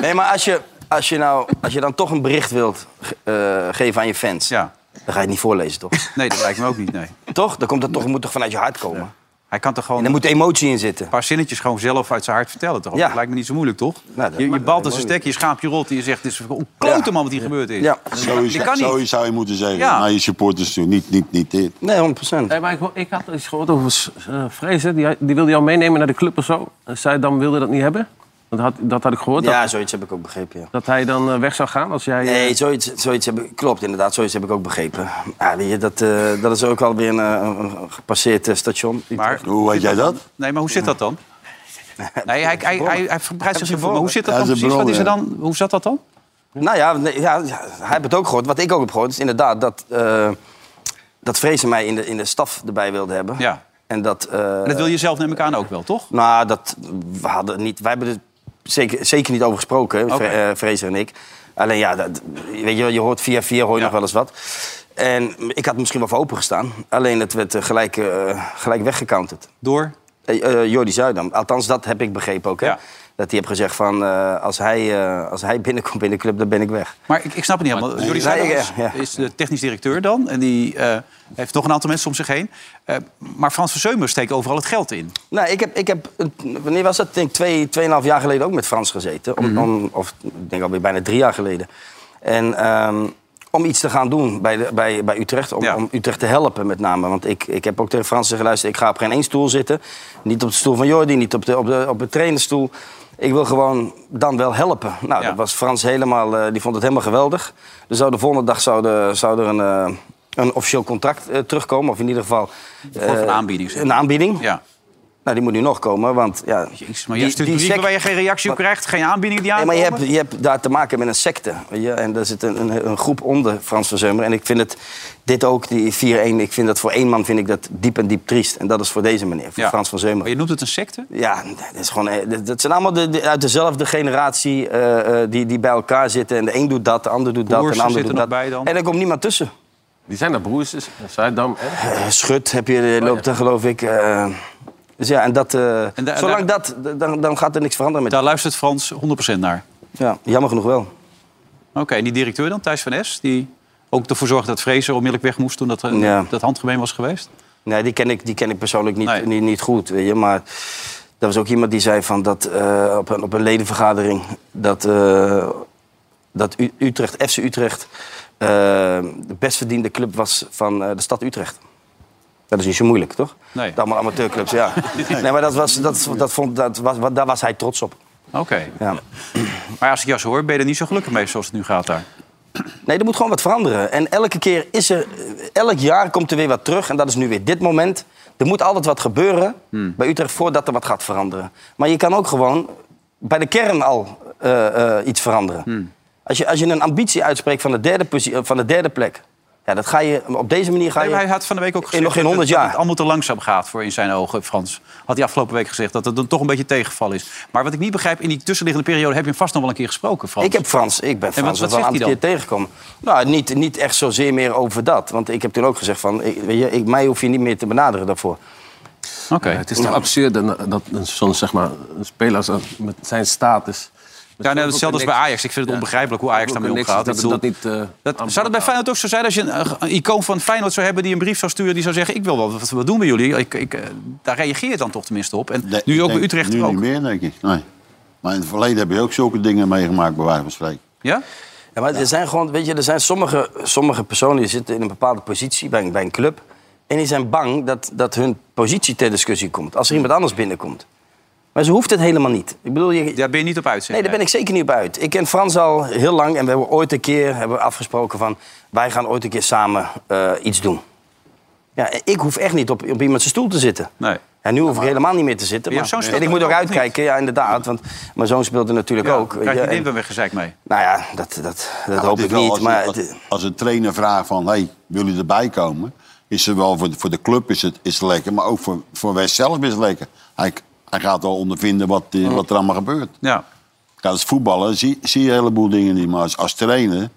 D: Nee, maar als je, als je, nou, als je dan toch een bericht wilt ge- eh, geven aan je fans...
B: Ja.
D: dan ga je het niet voorlezen, toch?
B: Nee, dat lijkt me ook niet, nee.
D: toch? Dan komt dat toch, het moet toch vanuit je hart komen?
B: Hij kan toch gewoon
D: En er
B: een
D: moet emotie in zitten.
B: paar zinnetjes gewoon zelf uit zijn hart vertellen, toch?
D: Ja. Nou,
B: Dat lijkt me niet zo moeilijk, toch?
D: dat
B: je je
D: mag-
B: balt
D: dat
B: als een
D: mag
B: stek, je schaapt je rot en je zegt... dit is een klote man wat hier gebeurd is.
D: Ja,
E: Zo, is,
B: Die kan niet.
E: zo zou je moeten zeggen.
B: Ja.
E: Naar je supporters toe. Niet, niet, niet dit.
D: nee, 100 procent.
B: Eh,
C: Nee, maar ik, ik had iets gehoord over eh, Vrees, hè? Die, die wilde jou meenemen naar de club of zo. En Zij dan wilde dat niet hebben. Dat had, dat had ik gehoord.
D: Ja,
C: Dat,
D: zoiets heb ik ook begrepen, ja.
C: dat hij dan eh, weg zou gaan als jij... eh,
D: Nee, zoiets, zoiets heb ik, klopt inderdaad, zoiets heb ik ook begrepen. Ja, weet je, dat, eh, dat is ook alweer een, eh, een een gepasseerd eh, station.
B: Maar,
E: Hoe weet jij dat?
B: nee, maar hoe zit dat dan? Nee, hij, hij, hij, hij verbreidt zich voor. Maar hoe zit dat
E: Ja,
B: dan
E: dat is
B: precies? Wat is er
E: een
B: dan? Hoe zat dat dan?
D: Nou ja, nee, ja, ja, hij heeft het ook gehoord. Wat ik ook heb gehoord is inderdaad dat, eh dat Vrezen mij in de, in de staf erbij wilde hebben.
B: Ja.
D: En dat... eh,
B: Dat wil je zelf neem ik aan ook wel, toch?
D: Nou, dat, we hadden niet, wij hebben er zeker, zeker niet over gesproken, hè, Vre- eh, Fraser en ik. Alleen ja, dat, weet je, wel, je hoort via via hoor je nog wel eens wat. En ik had misschien wel voor open gestaan. Alleen het werd eh, gelijk, eh, gelijk weggecounterd.
B: Door?
D: Eh, eh, Jordi Zuidam. Althans, dat heb ik begrepen ook. Hè?
B: Ja.
D: Dat hij heeft gezegd van, eh, als, hij, eh, als hij binnenkomt in de club, dan ben ik weg.
B: Maar ik, ik snap het niet helemaal. Jordi
D: Nee,
B: Zuidam
D: ja,
B: is,
D: ja.
B: is de technisch directeur dan. En die eh, heeft nog een aantal mensen om zich heen. Eh, maar Frans van Zeumer steekt overal het geld in.
D: Nou, ik heb, ik heb, een- wanneer was dat? Ik Denk twee, tweeënhalf jaar geleden ook met Frans gezeten.
B: Mhm.
D: Om, om, of ik denk alweer bijna drie jaar geleden. En ehm, om iets te gaan doen bij, de, bij, bij Utrecht. Om,
B: Ja.
D: om Utrecht te helpen met name. Want ik, ik heb ook tegen Frans geluisterd. Ik ga op geen één stoel zitten. Niet op de stoel van Jordi, niet op de, op de, op de trainerstoel. Ik wil gewoon dan wel helpen. Nou,
B: Ja.
D: dat was Frans helemaal, eh, die vond het helemaal geweldig. Dus zou de volgende dag zou, de, zou er een, eh, een officieel contract eh, terugkomen. Of in ieder geval...
B: vorm van
D: eh,
B: aanbieding, zeg.
D: Een aanbieding.
B: Ja.
D: Nou, die moet nu nog komen, want ja...
B: Jezus, maar je hebt natuurlijk brieven
D: sect-
B: waar je geen reactie op krijgt. Geen aanbiedingen die
D: Nee,
B: aankomen.
D: maar je hebt, je hebt daar te maken met een secte. weet je, En daar zit een, een, een groep onder Frans van Zeumer. En ik vind het, dit ook, die 4-1, ik vind dat voor één man vind ik dat diep en diep triest. En dat is voor deze meneer, voor
B: Ja.
D: Frans van Zeumer.
B: Maar je noemt het een secte?
D: Ja, dat, is gewoon, eh, dat- dat zijn allemaal de, de- uit dezelfde generatie eh, eh, die, die bij elkaar zitten. En de een doet dat, de ander doet dat, en
B: Broers
D: de ander
B: zitten
D: doet
B: nog
D: dat.
B: bij dan.
D: En er komt niemand tussen.
C: Die zijn daar broers, dus Zuidam. hè?
D: Eh, Schut heb je,
B: Oh,
D: eh, loopt er geloof ik. eh, dus ja, en dat, eh,
B: En da-
D: zolang dat, dan, dan gaat er niks veranderen met
B: Daar luistert Frans 100% naar.
D: Ja, jammer genoeg wel.
B: Oké, en die directeur dan, Thijs van Es... die ook ervoor zorgde dat Vrezer onmiddellijk weg moest... toen dat, eh,
D: Ja.
B: dat handgemeen was geweest?
D: Nee, die ken ik, die ken ik persoonlijk niet,
B: Nee.
D: niet, niet goed, weet je. Maar dat was ook iemand die zei van dat eh, op, een, op een ledenvergadering... dat, eh, dat U- Utrecht, FC Utrecht eh, de best verdiende club was van eh, de stad Utrecht. Dat is niet zo moeilijk, toch?
B: Nee.
D: Dat Allemaal amateurclubs, ja. Nee, maar dat was, dat, dat vond, dat was, wat- daar was hij trots op.
B: Oké.
D: Ja.
B: Maar als ik jou zo hoor, ben je er niet zo gelukkig mee zoals het nu gaat daar.
D: Nee, er moet gewoon wat veranderen. En elke keer is er... Elk jaar komt er weer wat terug. En dat is nu weer dit
B: Hmm.
D: moment. Er moet altijd wat gebeuren bij Utrecht voordat er wat gaat veranderen. Maar je kan ook gewoon bij de kern al eh, eh, iets veranderen.
B: Hmm.
D: Als, je, als je een ambitie uitspreekt van de derde, posi- eh, van de derde plek... Ja, dat ga je, op deze manier ga
B: Nee,
D: je...
B: maar hij had van de week ook gezegd
D: nog geen
B: dat het- dat
D: 100 jaar.
B: het allemaal te langzaam gaat voor in zijn ogen, Frans. Had hij afgelopen week gezegd dat het dan toch een beetje tegenval is. Maar wat ik niet begrijp, in die tussenliggende periode heb je hem vast nog wel een keer gesproken, Frans.
D: Ik heb Frans, ik ben Frans
B: wat
D: wel een
B: zegt
D: aantal
B: hij
D: keer tegengekomen. Nou, niet, niet echt zozeer meer over dat. Want ik heb toen ook gezegd van, ik, weet je, ik, mij hoef je niet meer te benaderen daarvoor.
B: Oké.
C: Het is toch absurd dat, dat een- zo'n zeg maar, een speler als- met zijn status... met
B: Ja,
C: zoveel
B: nee, hetzelfde als bij
C: connecties-
B: Ajax. Ik vind het
C: Ja.
B: onbegrijpelijk hoe Ajax
C: Zoveel
B: daarmee
C: connecties
B: omgaat.
C: Dat,
B: Ik
C: ze dat
B: bedoel,
C: niet... eh,
B: Dat,
C: aan
B: zou dat bij
C: elkaar-
B: Feyenoord ook zo zijn? Als je een, eh, icoon van Feyenoord zou hebben die een brief zou sturen... die zou zeggen, ik wil wel wat, wat doen bij jullie. Ik, ik, eh, daar reageer je dan toch tenminste op. En
E: Nee,
B: nu
E: ik
B: ook bij
E: denk-
B: Utrecht
E: Nu
B: ook.
E: niet meer, denk ik. Nee. Maar in het verleden heb je ook zulke dingen meegemaakt, bij wijze van spreken.
B: Ja?
D: Ja, maar er zijn gewoon, weet je, er zijn sommige, sommige personen die zitten in een bepaalde positie bij een, bij een club. En die zijn bang dat, dat hun positie ter discussie komt. Als er iemand anders binnenkomt. Maar ze hoeft het helemaal niet. Ik bedoel, je,
B: Daar ben je niet op uit, zeg
D: Nee, daar
B: jij.
D: ben ik zeker niet op uit. Ik ken Frans al heel lang en we hebben ooit een keer hebben we afgesproken van... wij gaan ooit een keer samen eh, iets doen. Ja, ik hoef echt niet op, op iemand zijn stoel te zitten.
B: Nee.
D: En nu hoef ik helemaal niet meer te zitten.
B: Maar
D: Maar,
B: jouw zoon speelt
D: en ik
B: ook
D: moet ook
B: niet?
D: uitkijken, ja, inderdaad. Want mijn zoon speelt er natuurlijk
B: Ja,
D: ook.
B: dan krijg
D: Ja,
B: je
D: en-
B: die weer gezeik mee.
D: nou ja, dat, dat, dat hoop
E: Het
D: ik
E: Nou, is wel
D: niet.
E: als,
D: Maar
E: als,
D: het-
E: als een trainer vraagt van, hey, wil je erbij komen? Is het wel voor de, voor de club is het, is het lekker, maar ook voor, voor West zelf is het lekker. Hij, hij gaat wel ondervinden wat, eh, wat er allemaal gebeurt.
B: Ja.
E: Kijk, als voetballer zie, zie je een heleboel dingen niet, maar als, als trainer...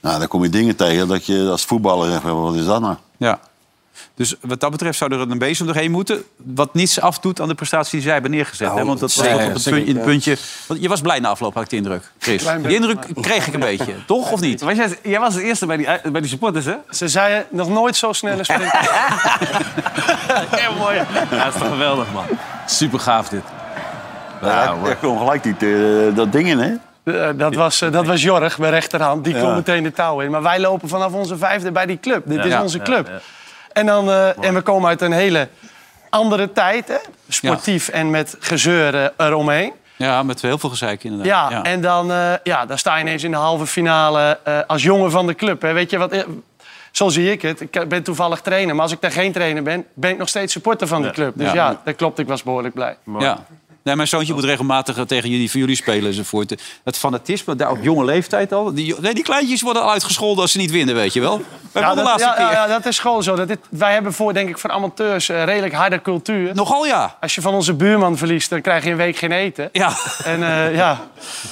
E: Nou, dan kom je dingen tegen dat je als voetballer zegt, wat is dat nou?
B: Ja. Dus wat dat betreft zou er een bezem doorheen moeten... wat niets afdoet aan de prestatie die zij hebben neergezet.
F: Nou,
B: hè? Want dat was
D: zeker,
B: toch op het, punt- het puntje... Want je was blij na afloop, had ik de indruk, Chris. Die indruk kreeg ik een beetje, toch? Of niet?
F: Was jij, jij was de eerste bij die, bij die supporters, hè? Ze zeiden nog nooit zo snel een sprinter.
C: Ja, mooi. Ja, dat is toch geweldig, man. Super gaaf dit.
E: Ja,
C: hoor.
E: daar komt gelijk die, eh, dat ding in, hè?
F: Eh, dat, was, eh, dat was Jorg, mijn rechterhand. Die
E: Ja.
F: kon meteen de touw in. Maar wij lopen vanaf onze vijfde bij die club. Dit is
B: Ja.
F: onze club. En, dan, eh, en we komen uit een hele andere tijd, hè? Sportief en met gezeur eh, eromheen.
B: Ja, met heel veel gezeik inderdaad.
F: Ja, en dan, eh, ja, dan sta je ineens in de halve finale eh, als jongen van de club. Hè. Weet je wat? eh, Zo zie ik het. Ik ben toevallig trainer. Maar als ik daar geen trainer ben, ben ik nog steeds supporter van de club. Dus
B: Ja.
F: ja, dat klopt. Ik was behoorlijk blij.
B: Ja. Nee, mijn zoontje moet regelmatig eh, tegen jullie, voor jullie spelen enzovoort. Het fanatisme, daar op jonge leeftijd al. Die, nee, die kleintjes worden al uitgescholden als ze niet winnen, weet je wel. Bij
F: Ja,
B: de
F: dat,
B: laatste
F: ja,
B: keer.
F: ja, ja, dat is gewoon zo. Dat dit, wij hebben voor, denk ik, voor amateurs eh, redelijk harde cultuur.
B: Nogal ja.
F: Als je van onze buurman verliest, dan krijg je een week geen eten.
B: Ja,
F: En eh, ja,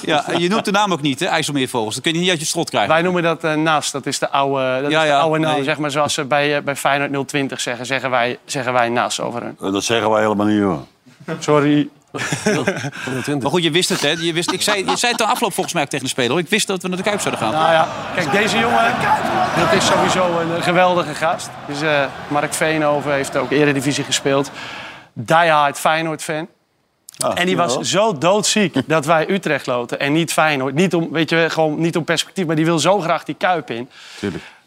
B: ja, en je noemt de naam ook niet, hè, IJsselmeervogels. Dat kun je niet uit je strot krijgen.
F: wij noemen dat eh NAS. Dat is de oude, dat
B: Ja,
F: is de
B: ja,
F: oude naam,
B: nee.
F: zeg maar. Zoals ze bij, eh, bij Feyenoord 020 zeggen, zeggen wij, zeggen wij NAS over hun.
E: Dat zeggen wij helemaal niet, hoor.
F: Sorry.
B: Maar goed, je wist het, hè. Je, wist, ik zei, je zei het de afloop volgens mij ook tegen de speler. hoor. Ik wist dat we naar de Kuip zouden gaan.
F: Nou ja, kijk, deze jongen, dat is sowieso een eh, geweldige gast. Dus, eh, Mark Veenhoven heeft ook Eredivisie gespeeld. Die hard Feyenoord-fan. en die was zo doodziek dat wij Utrecht loten en niet Feyenoord. Niet om, weet je, gewoon niet om perspectief, maar die wil zo graag die Kuip in.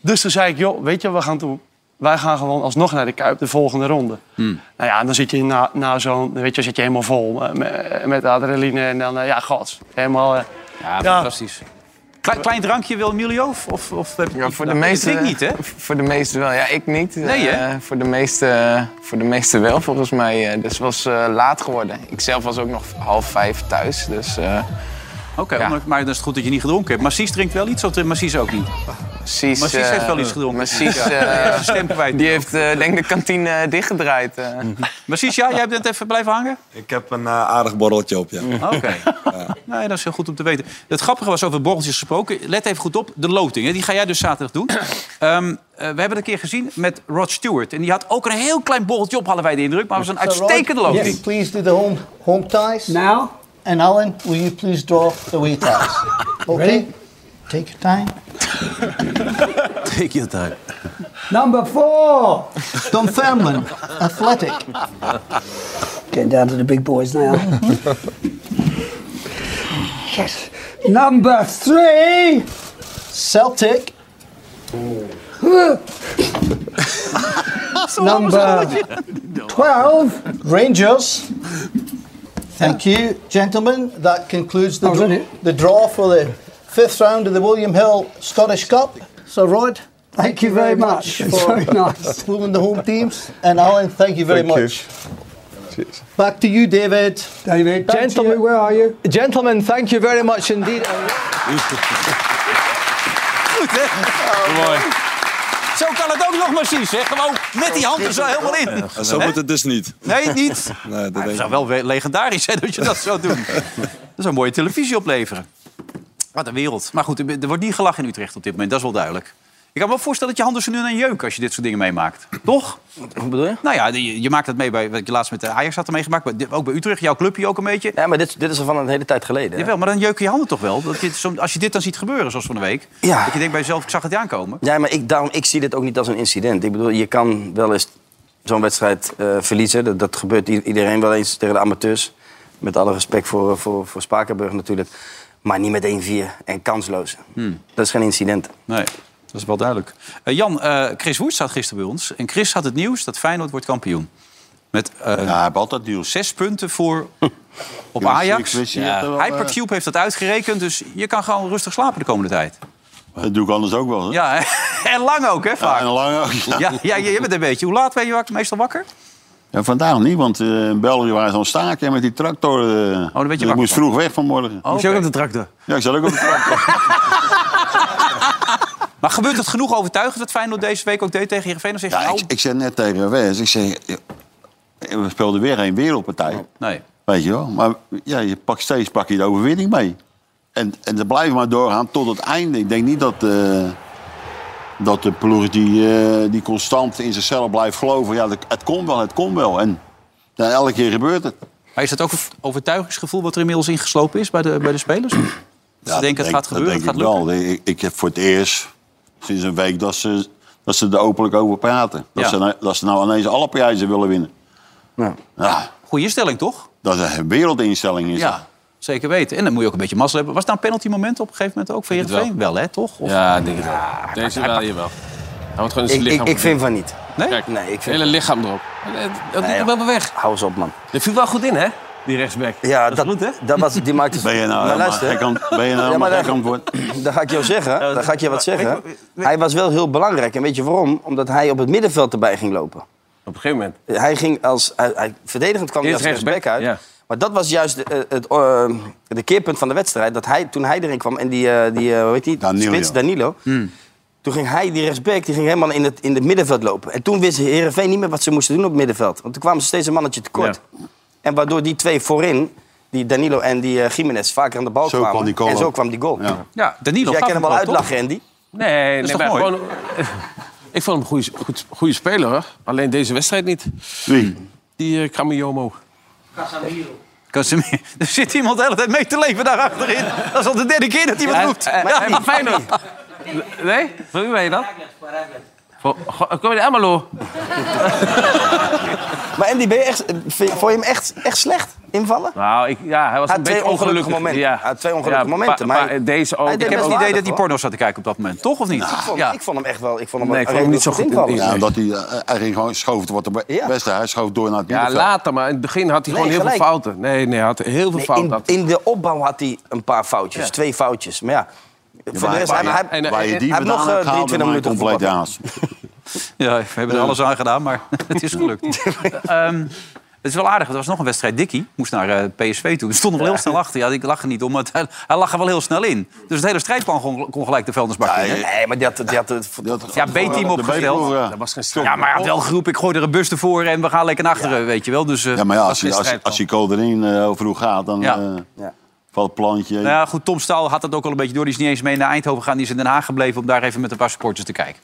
F: Dus toen zei ik, joh, weet je wat we gaan doen? Wij gaan gewoon alsnog naar de Kuip de volgende ronde. Nou ja, en dan zit je na, na zo'n, weet je, zit je helemaal vol eh, met, met adrenaline. En dan, eh, ja, god, helemaal... eh,
B: Ja,
F: Ja.
B: fantastisch. Klein, klein drankje wil Emilio? Of, of, of heb je-
H: Ja, voor de
B: Ik
H: meeste,
B: drink niet, hè?
H: Voor de meeste wel. Ja, ik niet.
B: Nee, hè?
H: Eh, voor, de meeste, voor de meeste wel, volgens mij. Eh, Dus het was eh, laat geworden. Ik zelf was ook nog half vijf thuis. Dus eh,
B: Oké,
H: Ja.
B: maar, maar dan is het goed dat je niet gedronken hebt. Massies drinkt wel iets, of eh, Massies ook niet?
H: precies...
B: Massies
H: eh,
B: heeft wel iets gedronken.
H: Massies,
B: Ja.
H: eh,
B: Hij heeft zijn stem kwijt.
H: die heeft eh, denk ik de kantine eh, dichtgedraaid. eh.
J: Hm.
B: Massies, ja, jij bent even blijven hangen?
G: Ik heb een eh, aardig borreltje op, ja.
K: Mm.
B: Oké. Nee, dat is heel goed om te weten. Het grappige was over borreltjes gesproken. Let even goed op, de loting. Hè? Die ga jij dus zaterdag doen. Ehm, eh, we hebben het een keer gezien met Rod Stewart. En die had ook een heel klein borreltje op, hadden wij de indruk. Maar het was een uitstekende loting.
K: Yes, please do the home home ties. Now. And Alan, will you please draw the way ties? Okay. Take your time.
C: Take your time.
K: Number four, Dunfermline, Athletic. Getting down to the big boys now. yes. Number three, Celtic. Number 12, Rangers. Thank you, gentlemen. That concludes
L: Oh,
K: the, dr- the draw for the fifth round of the William Hill Scottish Cup. So, Rod, thank, you very, much. for very nice. the home teams. And Alan, thank you very much. Back to you, David. David,
L: Gentlemen, where are you? Gentlemen, thank you very much indeed.
B: Goed, hè? Mooi. Zo kan het ook nog maar zien, zeg. Gewoon met die hand er zo helemaal in.
G: Zo
B: Hè?
G: moet het dus niet.
B: Nee, niet.
M: Nou,
G: Nee, Eh, dat
B: Maar
G: denk
B: het
G: ik
B: zou wel weer legendarisch zijn dat je dat zou doen. Dat zou mooie televisie opleveren. Wat een wereld. Maar goed, er wordt niet gelachen in Utrecht op dit moment, dat is wel duidelijk. Ik kan me ook voorstellen dat je handen zo nu aan jeuk als je dit soort dingen meemaakt. Toch?
D: Wat bedoel je?
B: Nou ja, je, je maakt het mee bij wat je laatst met de Ajax had meegemaakt. Maar dit- ook bij Utrecht, jouw clubje ook een beetje.
D: Ja, maar dit, dit is al van een hele tijd geleden. hè?
B: Jawel, maar dan jeuken je handen toch wel? Dat je, soms- als je dit dan ziet gebeuren, zoals van de week.
D: Ja.
B: Dat je denkt bij jezelf, ik zag het niet aankomen.
D: Ja, maar ik, daarom, ik zie dit ook niet als een incident. Ik bedoel, je kan wel eens zo'n wedstrijd eh, verliezen. Dat, dat gebeurt i- iedereen wel eens tegen de amateurs. Met alle respect voor, eh, voor, voor Spakenburg natuurlijk. Maar niet met 1-4 en kansloos.
E: Hmm.
D: Dat is geen incident.
B: Nee, dat is wel duidelijk. Eh, Jan, eh, Chris Woert zat gisteren bij ons. En Chris had het nieuws dat Feyenoord wordt kampioen. Met eh,
E: Ja, hij heeft altijd nieuws.
B: zes punten voor op
E: Ik wist-
B: Ajax.
E: ik wist niet dat er wel, eh,
B: Hypercube heeft dat uitgerekend, dus je kan gewoon rustig slapen de komende tijd.
E: Dat doe ik anders ook wel. Hè?
B: Ja, en lang ook, hè,
E: Ja,
B: vaak.
E: en
B: Ja,
E: lang ook. Ja.
B: ja, je bent een beetje. Hoe laat ben je wakker- meestal wakker?
E: Ja, vandaag niet, want eh, in België waren ze aan het staken met die tractor. eh.
B: Oh, je
E: Dus ik
B: wakker
E: moest
B: van.
E: vroeg weg vanmorgen.
B: Oh, oké.
L: tractor.
E: Ja, ik zat ook op de tractor.
B: Maar gebeurt het genoeg overtuigend dat Feyenoord deze week ook deed tegen Heerenveen? Dan zeg je,
E: ja,
B: nou,
E: ik, ik zei net tegen Wes, ik zei... eh, We speelden weer geen wereldpartij.
B: nee.
E: Weet je wel? Maar ja, je pakt steeds pak je de overwinning mee. En, en ze blijven maar doorgaan tot het einde. Ik denk niet dat, eh, dat de ploeg die, eh, die constant in zichzelf blijft geloven... Ja, dat- het komt wel, het komt wel. En dan elke keer gebeurt het.
B: Maar is dat ook een overtuigingsgevoel wat er inmiddels ingeslopen is bij de, bij de spelers? Ze
E: Ja,
B: denken het
E: denk-
B: gaat gebeuren, het
E: dat
B: gaat
E: denk
B: lukken.
E: ik wel. Ik, ik heb voor het eerst sinds een week dat ze, dat ze er openlijk over praten. Dat,
B: Ja.
E: ze, nou- dat ze nou ineens alle prijzen willen winnen.
D: Ja.
E: Ja,
B: Goeie stelling, toch?
E: dat is een wereldinstelling. Is dat.
B: Ja, zeker weten. En dan moet je ook een beetje mazzel hebben. Was daar een penaltymoment op een gegeven moment ook van Heerenveen? Wel, hè, toch? Of-
C: Ja, ik denk het wel. Deze wel, hier wel. Hij wordt gewoon in
D: Ik,
C: zijn lichaam.
D: ik, ik vind van niet.
B: Nee?
C: Kijk,
D: Nee, ik
C: het
D: vind
C: hele lichaam erop. Dat- Dat
D: Nee,
C: doet er wel weg.
D: Hou eens op, man.
C: Dat viel wel goed in, hè? Die rechtsback.
D: Ja, dat, dat was, die maakte...
E: Ben je nou
D: maar
E: helemaal
D: luister,
E: gek aan- ben je nou
D: Ja, maar
E: helemaal
D: daar-
E: gek antwoord?
D: Dan ga ik jou zeggen, dan ga ik je wat zeggen. Hij was wel heel belangrijk. En weet je waarom? Omdat hij op het middenveld erbij ging lopen.
C: Op een gegeven moment.
D: Hij ging als... Hij, hij- verdedigend kwam hij als
C: Eerst
D: rechtsback
C: rechtsback,
D: uit.
C: ja.
D: Maar dat was juist de, eh, het, eh, de keerpunt van de wedstrijd. Dat hij, toen hij erin kwam en die, eh, die eh, hoe heet die,
E: Danilo. Hmm.
D: spits Danilo... Toen ging hij, die rechtsback, die ging helemaal in het, in het middenveld lopen. En toen wist Heerenveen niet meer wat ze moesten doen op het middenveld. Want toen kwamen ze steeds een mannetje tekort. En waardoor die twee voorin, die Danilo en die eh, Gimenez, vaker aan de bal
E: Zo
D: kwamen.
E: kwam die goal
D: en zo
E: ook.
D: kwam die goal.
E: Ja.
B: Ja, Danilo
D: Dus
B: gaf
D: jij kan hem wel
B: ook, toch?
D: uitlachen, Andy.
B: is
C: Nee, nee,
B: toch
C: maar
B: mooi?
C: gewoon- ik vond hem een goede, goed, goede speler, hoor. alleen deze wedstrijd niet.
E: Wie?
C: Die eh Kramiomo.
B: Casemiro. Er zit iemand de hele tijd mee te leven daar achterin. Dat is al de derde keer dat iemand roept.
C: Ja, maar Feyenoord. Nee? Van wie ben je dan? Van- Go- Kom je de Almelo?
D: Maar Andy, ben je echt, vind- vond je hem echt, echt slecht invallen?
C: Nou, ik, ja, hij was
D: Hij
C: een
D: had
C: beetje
D: twee
C: ongelukkig.
D: ongelukkige momenten.
C: Ja.
D: Hij had twee ongelukkige
C: Ja,
D: momenten,
C: pa-
D: maar-
C: pa- deze ook.
D: Hij deed
B: Ik heb
D: best
B: het idee dat
D: waardig,
B: hij
D: hoor.
B: porno zat te kijken op dat moment. Toch of niet?
D: Ik
E: Nou,
D: vond,
B: Ja.
D: ik vond hem echt wel. Ik vond hem,
C: Nee, ik
D: wel
C: vond hem niet zo
D: redelijk
C: goed
D: invallen.
C: in-
E: Ja,
C: Nee.
E: dat hij, eh, hij ging gewoon schoof wat de
D: Ja.
E: wedstrijd. Hij schoof door naar het
C: Ja,
E: middenveld.
C: later, maar in het begin had hij
D: Nee,
C: gewoon heel
D: gelijk.
C: veel fouten. Nee, nee, hij had heel veel
D: Nee,
C: fouten.
D: in,
C: had hij.
D: in de opbouw had hij een paar foutjes, twee foutjes. Maar ja, voor de
E: Waar,
D: rest, hij,
E: waar,
D: hij-
C: en-
E: waar je die
D: hij heeft nog,
E: nog
D: eh, 23
E: 23
D: minuten
E: minuten compleet
D: voetbal.
E: haast.
B: Ja, we hebben er
E: Eh.
B: alles aan gedaan, maar het is gelukt. Ehm, het is wel aardig, want er was nog een wedstrijd. Dikkie moest naar eh, PSV toe. Die stond er wel heel snel achter. Ja, ik lach er niet om, maar het- hij, hij lag er wel heel snel in. Dus het hele strijdplan kon, kon gelijk de vuilnisbak in. hè?
D: nee, maar die had, die had het...
B: Ja, B-team opgesteld.
E: Ja.
C: was geen
B: Ja, maar hij had wel geroepen, ik gooi er een bus ervoor en we gaan lekker naar achteren, weet je wel. Dus, eh,
E: ja, maar ja, als,
C: geen
E: je, als,
C: strijd
E: als je kool erin eh, vroeg gaat, dan
B: Ja.
E: eh,
D: Ja.
E: valt het plantje.
B: Nou ja, goed, Tom Staal had dat ook al een beetje door. Die is niet eens mee naar Eindhoven gegaan. Die is in Den Haag gebleven om daar even met een paar supporters te kijken.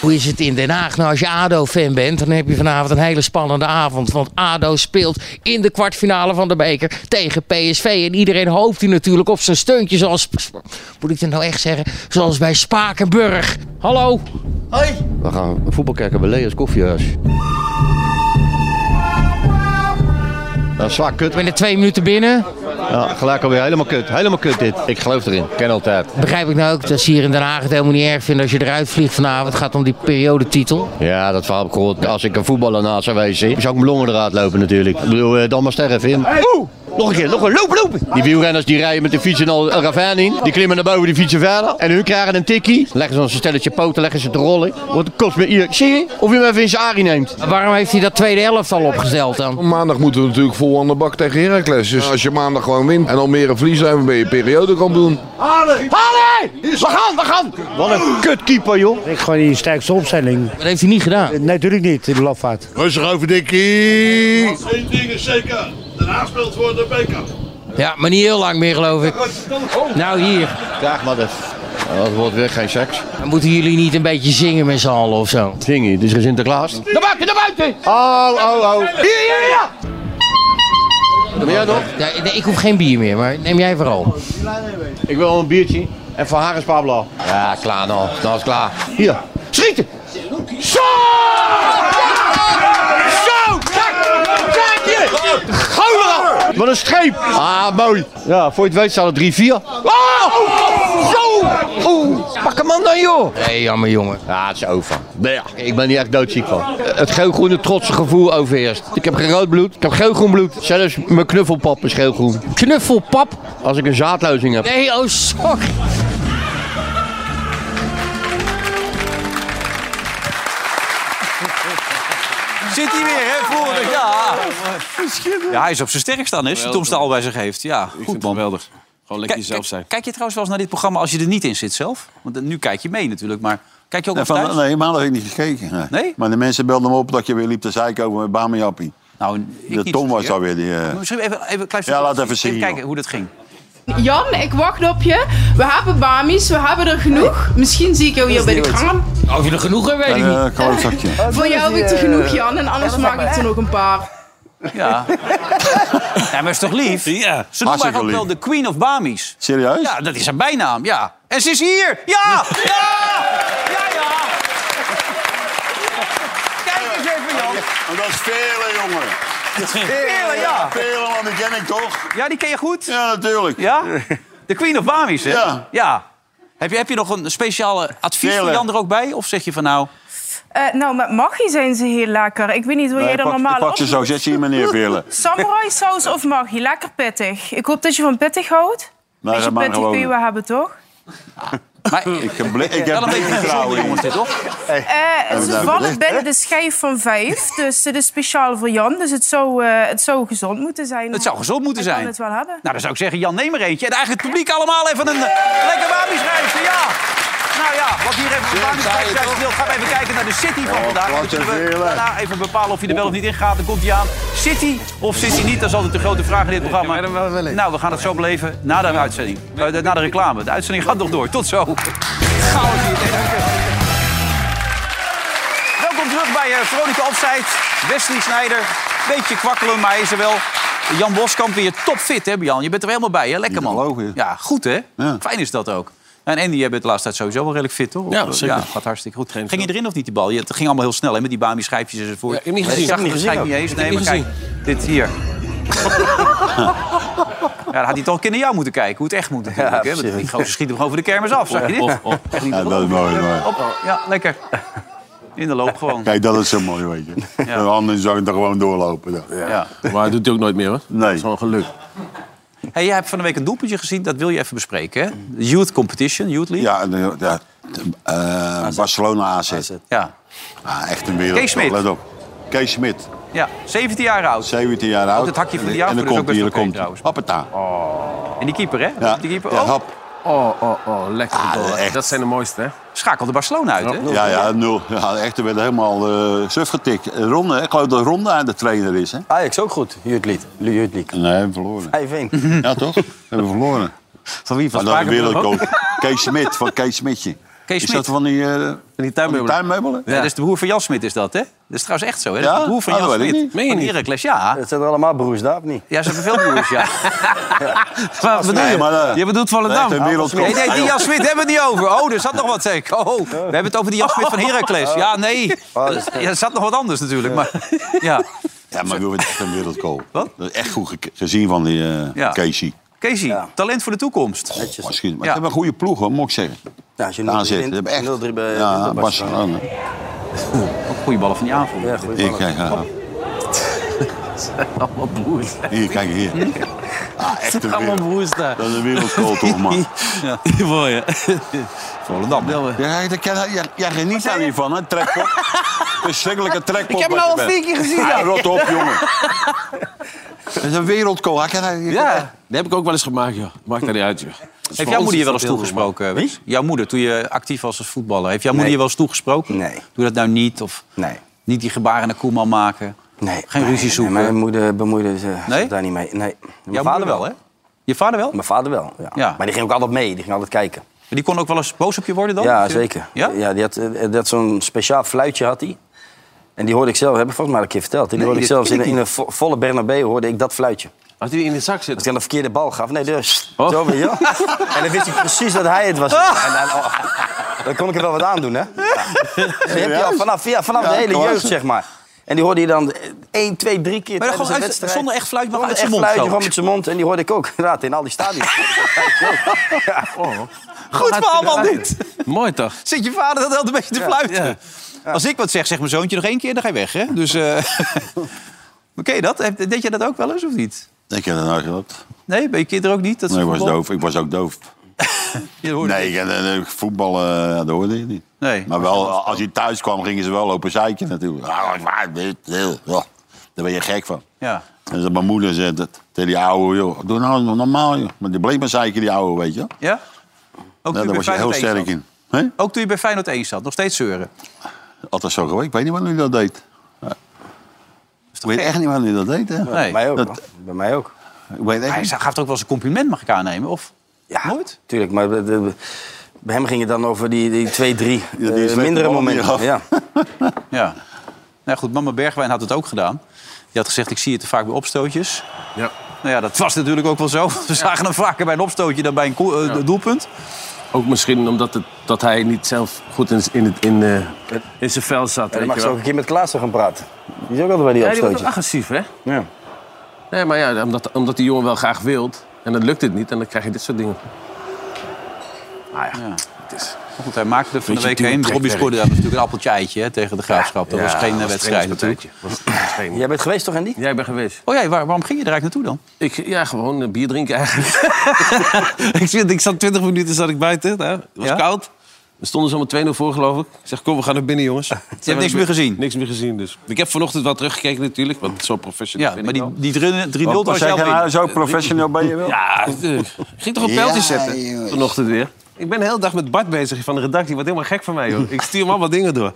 J: Hoe is het in Den Haag? Nou, als je ADO-fan bent, dan heb je vanavond een hele spannende avond. Want ADO speelt in de kwartfinale van de beker tegen PSV. En iedereen hoopt hier natuurlijk op zijn steuntje zoals... Moet ik dit nou echt zeggen? Zoals bij Spakenburg. Hallo?
L: We gaan voetbal kijken bij Leers Koffiehuis.
J: Nou,
L: Dat is zwaar kut.
J: Ik ben er twee minuten binnen.
L: Ja, gelijk alweer helemaal kut. Helemaal kut dit. Ik geloof erin. Ken altijd.
J: Begrijp ik nou ook dat ze hier in Den Haag het helemaal niet erg vinden als je eruit vliegt vanavond. Het gaat om die periodetitel.
L: Ja, dat verhaal heb ik gehoord. Als ik een voetballer naast zou wezen, zou ik mijn longen eruit lopen natuurlijk. Ik bedoel, eh, dan maar sterven. Hey.
H: Nog een keer, nog een lopen, lopen. Die wielrenners die rijden met de fiets en al een ravijn in. Die klimmen naar boven, die fietsen verder. En hun krijgen een tikkie. Leggen ze ons een stelletje poten, leggen ze te rollen. Wat kost me hier. Zie je? Of je hem even in zijn arie neemt.
N: Waarom heeft hij dat tweede helft al opgesteld dan?
O: Maandag moeten we natuurlijk vol aan de bak tegen Heracles. Dus als je maandag gewoon wint en Almere verlies, dan ben je periodekampioen.
H: Halen! Halen! We gaan, we gaan! Wat een kutkeeper, joh.
P: Ik gewoon die sterkste opstelling.
N: Dat heeft hij niet gedaan?
P: Nee, natuurlijk niet, in de lafaard.
O: Rustig over, Dikkie!
Q: Eén ding is zeker, daarna speelt voor de beker.
N: Ja, maar niet heel lang meer geloof ik. Nou hier.
H: Graag maar dat. Dat wordt weer geen seks.
N: Dan moeten jullie niet een beetje zingen met z'n allen of zo.
H: Zingen, het is geen Sinterklaas.
N: Naar buiten, naar buiten!
H: Oh, oh, oh. Hier, hier, ja! Wil jij nog?
N: Nee, nee, ik hoef geen bier meer, maar neem jij vooral.
H: Ik wil een biertje. En van haar is Pablo. Ja, klaar nou. Nou is klaar. Hier, schieten! Zo! Zo! Kijk! Kijk hier! Gouden! Wat een streep! Ah, mooi. Ja, voor je het weet staat het 3-4. Oh! Zo! Oeh, pak hem aan dan, joh!
N: Nee, jammer jongen.
H: Ja, het is over. Nee, ja, ik ben hier echt doodziek van. Het geel-groene trotse gevoel overheerst. Ik heb geen rood bloed, ik heb geel-groen bloed. Zelfs mijn knuffelpap is geel-groen.
N: Knuffelpap?
H: Als ik een zaadlozing heb.
N: Nee, oh sorry.
B: Zit hij weer, hè, vorig ja. Ja, hij is op zijn sterkst dan, hè, Tom Staal bij zich heeft. Ja, goed man. Geweldig.
C: Gewoon lekker
B: Kijk,
C: jezelf zijn.
B: kijk, kijk je trouwens wel eens naar dit programma als je er niet in zit zelf? Want eh, nu kijk je mee natuurlijk, maar kijk je ook
E: Nee,
B: nog
E: van,
B: thuis?
E: nee, helemaal heb ik niet gekeken. Nee. Maar de mensen belden me op dat je weer liep te zeiken over Bamiappie.
B: Nou,
E: eh, de Tom was daar weer. Die, eh,
B: Misschien even, even een klein
E: Ja, laat even zien,
B: kijken hoe dat ging.
R: Jan, ik wacht op je. We hebben Bamis, we hebben er genoeg. Misschien zie ik jou hier bij de kraam.
N: Of je er genoeg hebt, weet ik
E: een,
N: niet.
E: eh, klootzakje.
R: Voor jou heb ik er genoeg, Jan. En anders maak ik er nog een paar.
E: eh,
B: Ja. ja, maar is toch lief? Ja. Ze noemt haar
E: Hartstikke
B: ook wel de
E: lief.
B: Queen of Bamis.
E: Serieus?
B: Ja, dat is haar bijnaam, ja. En ze is hier! Ja! Ja! Ja, ja! Kijk eens even, Jan.
E: Maar dat is vele, jongen.
B: Vele, ja.
E: Vele, man, die ken ik toch?
B: Ja, die ken je goed?
E: Ja, natuurlijk.
B: Ja? De Queen of Bamis, hè?
E: Ja.
B: Heb je, heb je nog een speciale advies voor
E: Vele.
B: Jan er ook bij? Of zeg je van nou...
M: Eh, nou, met Maggi zijn ze heel lekker. Ik weet niet hoe
E: Nee,
M: jij dat
E: pak,
M: normaal
E: pak ze zo, zet ze hier meneer Vele.
M: Samurai saus of Maggi? Lekker pittig. Ik hoop dat je van pittig houdt.
E: Nee,
M: Als je
E: dat mag
M: pittig kun je
E: gewoon.
M: wel hebben, toch?
B: Maar,
E: ik heb blik ik
B: Wel
E: heb
B: een beetje
E: blik
B: gezonde
E: vertrouwen in.
B: jongens dit, toch?
M: Eh,
E: dat
M: ze
E: nou
M: vallen
E: belegd,
M: binnen de schijf van vijf. Dus dit is speciaal voor Jan. Dus het zou, eh, het zou gezond moeten zijn.
B: Het zou gezond moeten
M: Hij
B: zijn.
M: kan het wel hebben.
B: Nou, dan zou ik zeggen, Jan, neem er eentje. En eigenlijk het publiek allemaal even een eh, lekker Babiesreisje, ja! Nou ja, wat hier even een Babiesreisje wil, gaan we even kijken naar de City van vandaag. Dan
E: Oh, wat
B: kunnen
E: een
B: we
E: vele.
B: daarna even bepalen of hij er wel of niet in gaat. Dan komt hij aan. City of City niet, dat is altijd de grote vraag in dit programma. Nou, we gaan het zo beleven na de uitzending. Eh, de- Na de reclame. De uitzending gaat nog door. Tot zo. Gauw hier. Nee, dank je. Welkom terug bij eh, Veronica Opzijd. Wesley Snijder. Beetje kwakkelen, maar hij is er wel. Jan Boskamp weer topfit, hè, Jan? Je bent er helemaal bij, hè? Lekker man. Ja, goed, hè? Fijn is dat ook. En Andy, jij bent de laatste tijd sowieso wel redelijk fit, toch?
C: Ja, zeker.
B: gaat hartstikke goed. Ging je erin of niet, die bal? Je- Het ging allemaal heel snel, hè, met die Bami-schijfjes enzovoort.
C: Ja, ik heb hem niet gezien.
B: Ik zag
C: Ik
B: hem
C: heb hem niet
B: waarschijnlijk niet eens.
C: gezien
B: Nee, maar
C: ook. Ik heb
B: kijk, dit hier. ja, dan had hij toch een keer naar jou moeten kijken, hoe het echt moet natuurlijk. hè? Want die gozer schiet hem gewoon voor de kermis af, zag je dit?
C: Of- of-
B: Echt niet te
E: Ja, dat is
B: geloven.
E: mooi, mooi.
B: Op, ja, lekker. In de loop gewoon.
E: Kijk, dat is zo mooi, weet je. De Anders zou ik er gewoon doorlopen. dan.
B: Ja.
C: Maar dat doet hij ook nooit meer, hoor.
E: Nee.
C: Zo'n geluk.
B: Hey, jij hebt van de week een doelpuntje gezien, dat wil je even bespreken. Hè? De Youth Competition, Youth League.
E: Ja, en, eh, ja eh, Barcelona AZ.
B: Ja.
E: Ah, echt een wereld.
B: Kees Smit.
E: Let op. Kees Smit,
B: Ja, 17 jaar oud.
E: 17 jaar oud.
B: Ook het hakje van die
E: En
B: aanvoerder
E: dan
B: is ook
E: komt
B: best
E: hij,
B: oké
E: dan komt hij.
B: trouwens. Oh.
E: Hoppata.
B: En die keeper, hè?
E: Ja,
B: Die keeper.
E: ja,
B: Oh,
E: hap.
C: Oh, oh, oh, lekker.
E: Ah, echt.
C: dat zijn de mooiste, hè?
B: schakelde Barcelona uit, hè?
E: Ja, ja, nul. Ja, echt, er werd helemaal eh suf getikt. Ronde, hè? ik geloof dat Ronde aan de trainer is, hè?
B: Ah.
D: Ajax ook goed, Jutlied. Jutlied.
E: Nee, we hebben verloren.
B: Mhm.
D: 5-1.
E: Ja, toch? We hebben verloren.
B: Hm. Van wie?
E: Maar dat is wereldkoop. Kees Smit, van Kees Smitje.
B: Kees
E: Is
B: Smit.
E: dat van die, eh, van
B: Die
E: die
B: tuinmeubelen.
E: tuinmeubelen?
B: Ja, dat is de broer van Jan Smit, is dat, hè? Dat is trouwens echt zo, hè? Dat
E: Ja?
B: is de broer van
E: Oh,
B: Jan
E: dat weet ik
B: Smit.
E: niet.
B: Meen je niet? Heracles, ja.
D: Dat zijn er allemaal broers daar, of niet?
B: Ja, ze hebben veel broers, ja. Wat bedoel
E: Nee,
B: je?
E: maar, eh,
B: je bedoelt Volendam.
E: nee, de wereldkop.
B: Oh. Nee, nee, die Jan Smit hebben we niet over. Oh, er zat nog wat zeker. Oh, we hebben het over die Jan Smit van Heracles. Ja, nee. Ja, er zat nog wat anders natuurlijk, maar... Ja.
E: Oh. Ja, maar Wilfred is echt een wereldkool.
B: Wat?
E: Dat is echt goed ge- gezien van die eh
B: Ja.
E: Casey.
B: Casey, talent voor de toekomst.
E: Oh, misschien. Maar
B: Ja.
E: ze hebben een goede ploeg, hoor, moet ik zeggen.
D: Ja, als je
E: De AZ. Ze
D: 0-3
E: hebben echt...
D: wint, 0-3 bij eh,
E: ja,
D: bij Barcelona.
E: Barcelona.
B: Ook goede ballen van die aanvoerder.
E: eh.
D: Ja, goeie
E: Hier,
D: ballen.
E: kijk. Ja.
C: Allemaal broers.
E: Hier, kijk hier. de
B: Allemaal
E: wereld-
B: broers daar.
E: Dat is een wereldkool toch, man.
B: Ja, mooi hè. Volendam.
E: Ja, ik ken, ja, ja, geniet daar niet van, hè, trekpot. Verschrikkelijke trekpot.
B: Ik heb hem
E: wat
B: al
E: je
B: vier
E: bent.
B: keer gezien,
E: Ja,
B: ja.
E: rot op, jongen. Dat is een wereldkool. hè, ken hij- je
C: Ja,
E: kent
C: dat heb ik ook wel eens gemaakt, joh. Maakt daar niet uit, joh.
B: Heeft jouw moeder je wel eens toegesproken? Wie? Jouw moeder, toen je actief was als voetballer. Heeft jouw moeder je wel eens toegesproken? Nee. Doe dat nou niet. Of
D: nee.
B: niet die gebaren naar Koeman maken.
D: Nee.
B: Geen
D: nee,
B: ruzie
D: nee,
B: zoeken.
D: mijn moeder bemoeide zich
B: Nee?
D: daar niet mee. Nee. Mijn
B: Jouw moeder wel, hè? Je vader wel?
D: Mijn vader wel, ja.
B: Ja.
D: Maar die ging ook altijd mee, die ging altijd kijken.
B: Die kon ook wel eens boos op je worden dan?
D: Ja,
B: Of je-
D: zeker.
B: Ja?
D: Ja? die had, eh, dat zo'n speciaal fluitje had hij. En die hoorde ik zelf, heb ik volgens mij al een keer verteld. Die
C: Nee,
D: hoorde ik
C: dat
D: zelfs
C: ken
D: in,
C: ik
D: een- in
C: niet.
D: een vo- volle Bernabeu hoorde ik dat fluitje.
C: Als hij in de zak zit. Als
D: ik dan een verkeerde bal gaf. Nee, dus.
B: Oh.
D: Zo ben je. En dan wist ik precies dat hij het was. En
B: Ah.
D: dan, oh, dan kon ik er wel wat aan doen, hè? Ja. Dus je hebt die al vanaf, ja, vanaf
B: Ja,
D: de hele
B: klopt.
D: jeugd, zeg maar. En die hoorde je dan eh, één, twee, drie keer
B: Maar dan
D: tijdens
B: gewoon
D: de
B: uit-
D: wedstrijd.
B: zonder echt fluit, maar
D: Zonder
B: uit zijn
D: echt
B: mond
D: fluitje,
B: zo.
D: gewoon met zijn mond. En die hoorde ik ook, inderdaad, in al die stadions. Ja.
B: Goed verhaal, man, dit.
C: Mooi toch?
B: Zit je vader dat altijd een beetje te
D: Ja.
B: fluiten?
D: Ja.
B: Als ik wat zeg, zegt mijn zoontje nog één keer, dan ga je weg, hè? Dus, eh maar ken je dat? Heb- Deed je dat ook wel eens of niet?
E: dat? Ik heb dat nooit gehad.
B: Nee, bij je kinderen ook niet? Dat ze
E: Nee, ik was
B: voetbal-
E: doof. Ik was ook doof. nee, ik, eh, eh, voetballen, eh, dat hoorde je niet.
B: Nee.
E: Maar wel, als je thuis kwam, gingen ze wel lopen zeiken natuurlijk. Ah, waar, dit, dit, ja. Daar ben je gek van.
B: Ja.
E: En dat mijn moeder zei dat tegen die ouwe, joh, doe nou normaal, joh. Maar die bleef maar zeiken, die ouwe, weet je. wel.
B: Ja? Ook
E: Nou,
B: toen
E: daar
B: je bij
E: was je heel
B: Feyenoord één
E: sterk
B: zat.
E: in. Hè?
B: Ook toen je bij Feyenoord 1 zat, nog steeds zeuren.
E: Altijd zo geweest. Ik weet niet wat hij dat deed. Ja. Ik weet echt niet wat hij dat deed, hè?
B: Nee. Mij ook,
E: Dat,
D: Bij mij ook.
E: ik weet echt
B: Hij
E: niet.
B: gaf toch ook wel eens een compliment, mag ik aannemen? Of
D: Ja,
B: nooit?
D: Tuurlijk, maar de- de- bij hem ging het dan over die, die twee, drie
E: die
D: eh,
E: slechte
D: mindere
E: ballen die je
D: momenten. Ja.
E: gaf.
B: Ja. Nou goed, mama Bergwijn had het ook gedaan. Die had gezegd, ik zie het te vaak bij opstootjes.
C: Ja.
B: Nou ja, dat was natuurlijk ook wel zo. We zagen hem vaker bij een opstootje dan bij een ko- eh, doelpunt.
C: Ook misschien omdat het, dat hij niet zelf goed in, z- in, het, in, eh, in zijn vel zat.
D: En dan
C: weet
D: mag
C: je
D: ze
C: wel.
D: ook een keer met Klaassen gaan praten. Die is ook altijd bij die
C: Ja, die wordt
D: opstootjes.
C: ook agressief, hè?
D: Ja.
C: Nee, maar ja, omdat, omdat die jongen wel graag wilt. En dan lukt het niet. En dan krijg je dit soort dingen. Nou ja, het is...
B: Goed, hij maakte er van de
C: Beetje
B: week heen.
C: duwtrekwerk.
B: Robbie scoorde daar natuurlijk een appeltje eitje hè, tegen de Graafschap. Dat
C: Ja,
B: was geen eh,
C: was
B: wedstrijd natuurlijk.
C: trainingspartijtje. Was- was geen-
D: Jij bent geweest toch, Andy?
C: Jij bent geweest.
B: Oh ja, waar- waarom ging je er eigenlijk naartoe dan?
C: Ik, ja, gewoon eh, bier drinken eigenlijk. ik, zit- ik zat 20 minuten zat ik buiten. Hè. Het was koud. We stonden zomaar 2-0 voor, geloof ik. Ik zeg, kom, we gaan naar binnen, jongens. Je
B: niks meer gezien?
C: Niks meer gezien, dus. Ik heb vanochtend wel teruggekeken natuurlijk, want zo professioneel
B: Ja,
C: ben
B: maar
C: ik
B: die,
C: wel.
B: die drie- 3-0 was
C: Want als
B: jou
C: jij
B: in.
C: nou
E: Zo professioneel ben je wel.
C: Ja, eh, ging toch een pijltje zetten vanochtend weer. Ik ben de hele dag met Bart bezig van de redactie. Wat helemaal gek van mij, joh. Ik stuur hem allemaal dingen door.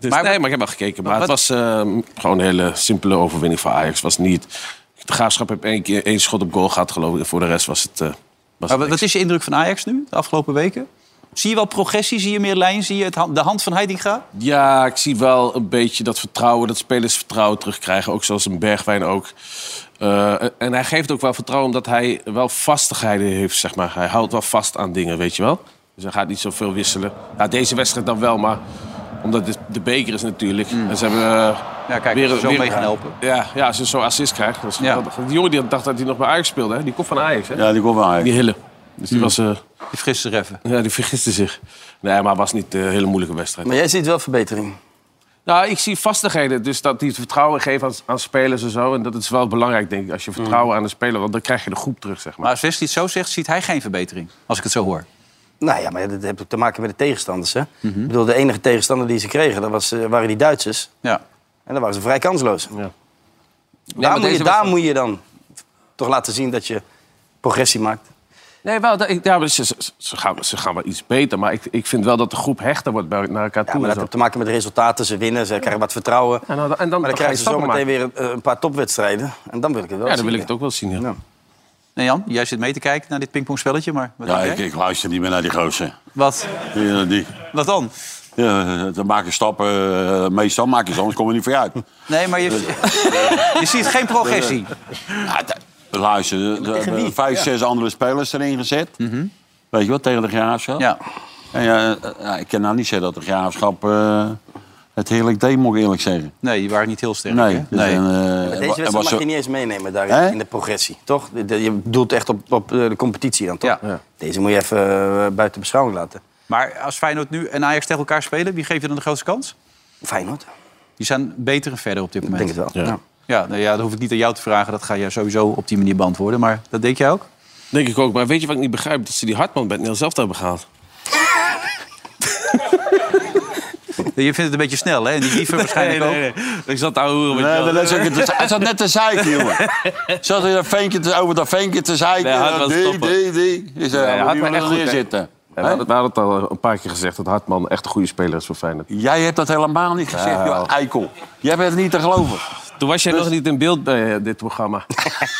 C: Dus, nee, maar ik heb wel gekeken. Maar het was ehm, gewoon een hele simpele overwinning van Ajax. was niet... De graafschap heb één, keer, één schot op goal gehad, geloof ik. En voor de rest was het... eh, was
B: Maar wat is je indruk van Ajax nu, de afgelopen weken? Zie je wel progressie? Zie je meer lijn? Zie je het, hand- de hand van Heidinga?
C: Ja, ik zie wel een beetje dat vertrouwen, dat spelers vertrouwen terugkrijgen. Ook zoals een Bergwijn ook. Eh, en hij geeft ook wel vertrouwen omdat hij wel vastigheden heeft, zeg maar. Hij houdt wel vast aan dingen, weet je wel. Dus hij gaat niet zoveel wisselen. Ja, deze wedstrijd dan wel, maar omdat het de beker is natuurlijk. En ze hebben... eh,
B: Hmm. Ja, kijk,
C: weer-
B: zo
C: weer-
B: mee gaan helpen.
C: Ja, ja, als je zo'n assist krijgt. Dat is geweldig. Die jongen die dacht dat hij nog bij Ajax speelde, hè? die komt van Ajax. Hè?
E: Ja, die komt wel eigenlijk.
C: Die Hille. Dus
B: Hmm.
C: die was... eh,
B: Die vergist zich even.
C: ja, die vergiste zich. Nee, maar het was niet eh, een hele moeilijke wedstrijd.
D: Maar jij ziet wel verbetering.
C: Nou, ik zie vastigheden. Dus dat die het vertrouwen geven aan, aan spelers en zo. En dat is wel belangrijk, denk ik. Als je vertrouwen aan de speler... want dan krijg je de groep terug, zeg maar.
B: Maar als Wesley het zo zegt, ziet hij geen verbetering. Als ik het zo hoor.
D: Nou ja, maar dat heeft ook te maken met de tegenstanders. Hè?
C: Mhm.
D: Ik bedoel, de enige tegenstander die ze kregen, dat was, eh, waren die Duitsers.
B: Ja.
D: En dan waren ze vrij kansloos.
C: maar
D: daar moet,
C: deze
D: je, daar
C: was-
D: moet je dan toch laten zien dat je progressie maakt.
C: Nee, wel, dat- ik- ja, maar ze, ze- ze gaan, ze gaan wel iets beter. Maar ik, ik vind wel dat de groep hechter wordt bij- naar elkaar toe. en
D: Ja, maar dat
C: zo.
D: heeft te maken met de resultaten. Ze winnen, ze krijgen wat vertrouwen.
C: Ja, nou, en dan,
D: maar dan
C: ga je
D: krijgen ze
C: stappen
D: zometeen
C: maken.
D: weer een, eh, een paar topwedstrijden. En dan wil ik het
C: Ja,
D: wel
C: dan
D: zien,
C: wil ik het ook wel zien, ja.
B: Nee, Jan, jij zit mee te kijken naar dit pingpongspelletje. Maar wat,
E: Ja,
B: denk
E: ik,
B: jij?
E: ik luister niet meer naar die gozer.
B: wat,
E: Die, die,
B: wat dan?
E: ja, dan maak je stappen. eh, meestal maak je ze, anders kom je niet vooruit.
B: Nee, maar je, je ziet geen progressie.
E: Ja, d- luister, er
B: tegen
E: hebben
B: wie?
E: vijf,
B: Ja.
E: zes andere spelers erin gezet.
D: Mhm.
E: Weet je wat, tegen de graafschap. Ja. En ja, eh, ja, ik kan nou niet zeggen dat de graafschap eh, het heerlijk deed, moet ik eerlijk zeggen.
B: Nee, die waren niet heel sterk.
E: Nee.
B: hè?
E: dus en, eh,
D: Maar
E: er
D: deze
E: wa- er
D: wedstrijd
E: was
D: mag
E: zo-
D: je niet eens meenemen daarin,
E: Hè?
D: in de progressie, toch? De- de- je doelt echt op, op eh, de competitie dan, toch? Deze moet je even eh, buiten beschouwing laten.
B: Maar als Feyenoord nu en Ajax tegen elkaar spelen, wie geeft je dan de grootste kans?
D: Feyenoord.
B: Die zijn beter en verder op dit
D: Ik
B: moment.
D: denk het wel. Ja.
B: Ja, nou ja, dat hoef ik niet aan jou te vragen. Dat ga jij sowieso op die manier beantwoorden. Maar dat deed jij ook?
C: Denk ik ook. Maar weet je wat ik niet begrijp? Dat ze die Hartman bij het Nederlands zelf hebben gehaald.
B: Je vindt het een beetje snel, hè? En die dieven waarschijnlijk
C: nee,
B: ook.
C: nee, nee. Ik zat daar horen.
E: Nee, dat is ook het is- hij zat net te zeiken, jongen. Zat hij dat ventje te, over dat ventje te zeiken?
C: Nee, Hartman
E: die,
C: stoppen.
E: die, die. Is eh, er helemaal niemand meer zitten.
C: We hadden, we hadden het al een paar keer gezegd dat Hartman echt een goede speler is voor Feyenoord.
E: Jij hebt dat helemaal niet gezegd,
C: Nou.
E: joh, eikel. Jij bent niet te geloven.
C: Toen was jij
D: Dus-
C: nog niet in beeld bij eh, dit programma.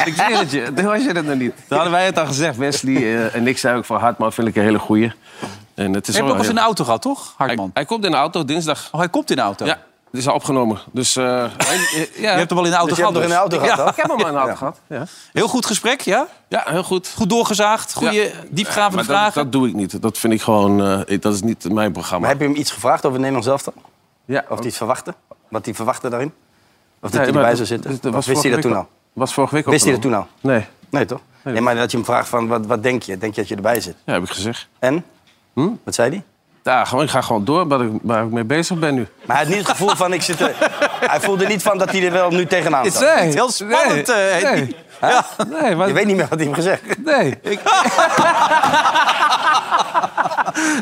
C: ik zweer het je, toen was je dat nog niet. Toen hadden wij het al gezegd, Wesley. eh, en ik zei ook van Hartman vind ik een hele goeie. En het is
B: Heb je
C: wel
B: ook eens in de
C: heel-
B: auto gehad, toch? Hartman.
C: Hij, hij komt in de auto dinsdag.
B: Oh, hij komt in de auto?
C: Ja, het is al opgenomen. Dus eh, hij- eh, ja.
B: Je hebt hem al in de auto gehad.
C: Dus je hebt hem in de auto
B: dus.
C: gehad,
B: Ja.
C: toch? Ik heb hem al in de auto gehad. Ja.
B: Heel goed gesprek, ja?
C: Ja, heel goed.
B: Goed doorgezaagd, goede
C: Ja. Ja,
B: diepgravende
C: maar
B: vragen.
C: Dat, dat doe ik niet. Dat vind ik gewoon... eh, ik- dat is niet mijn programma.
D: Maar heb je hem iets gevraagd over Nederland zelf dan?
C: Ja.
D: Of die het verwachtte? Wat die verwachtte daarin? Of dat
C: Nee,
D: hij
C: maar
D: erbij
C: dat-
D: zou zitten?
C: dat- dat
D: Of
C: was
D: wist hij dat
C: vorige
D: toen
C: week
D: al?
C: Was vorige week
D: Wist hij dat toen
C: opgenomen.
D: al?
C: Nee.
D: Nee, toch? Nee, maar dat je hem vraagt van, wat, wat denk je? Denk je dat je erbij zit?
C: Ja, heb ik gezegd.
D: En?
C: Hm?
D: Wat zei hij?
C: Ja, gewoon, ik ga gewoon door waar ik, waar ik mee bezig ben nu.
D: Maar hij had niet het gevoel van, ik zit er... Hij voelde niet van dat hij er wel nu tegenaan zat.
C: Nee,
B: Heel spannend,
C: nee,
B: eh,
C: nee.
D: Hè?
C: Nee, maar-
D: Je weet niet meer wat hij hem gezegd heeft.
C: Nee. Ik...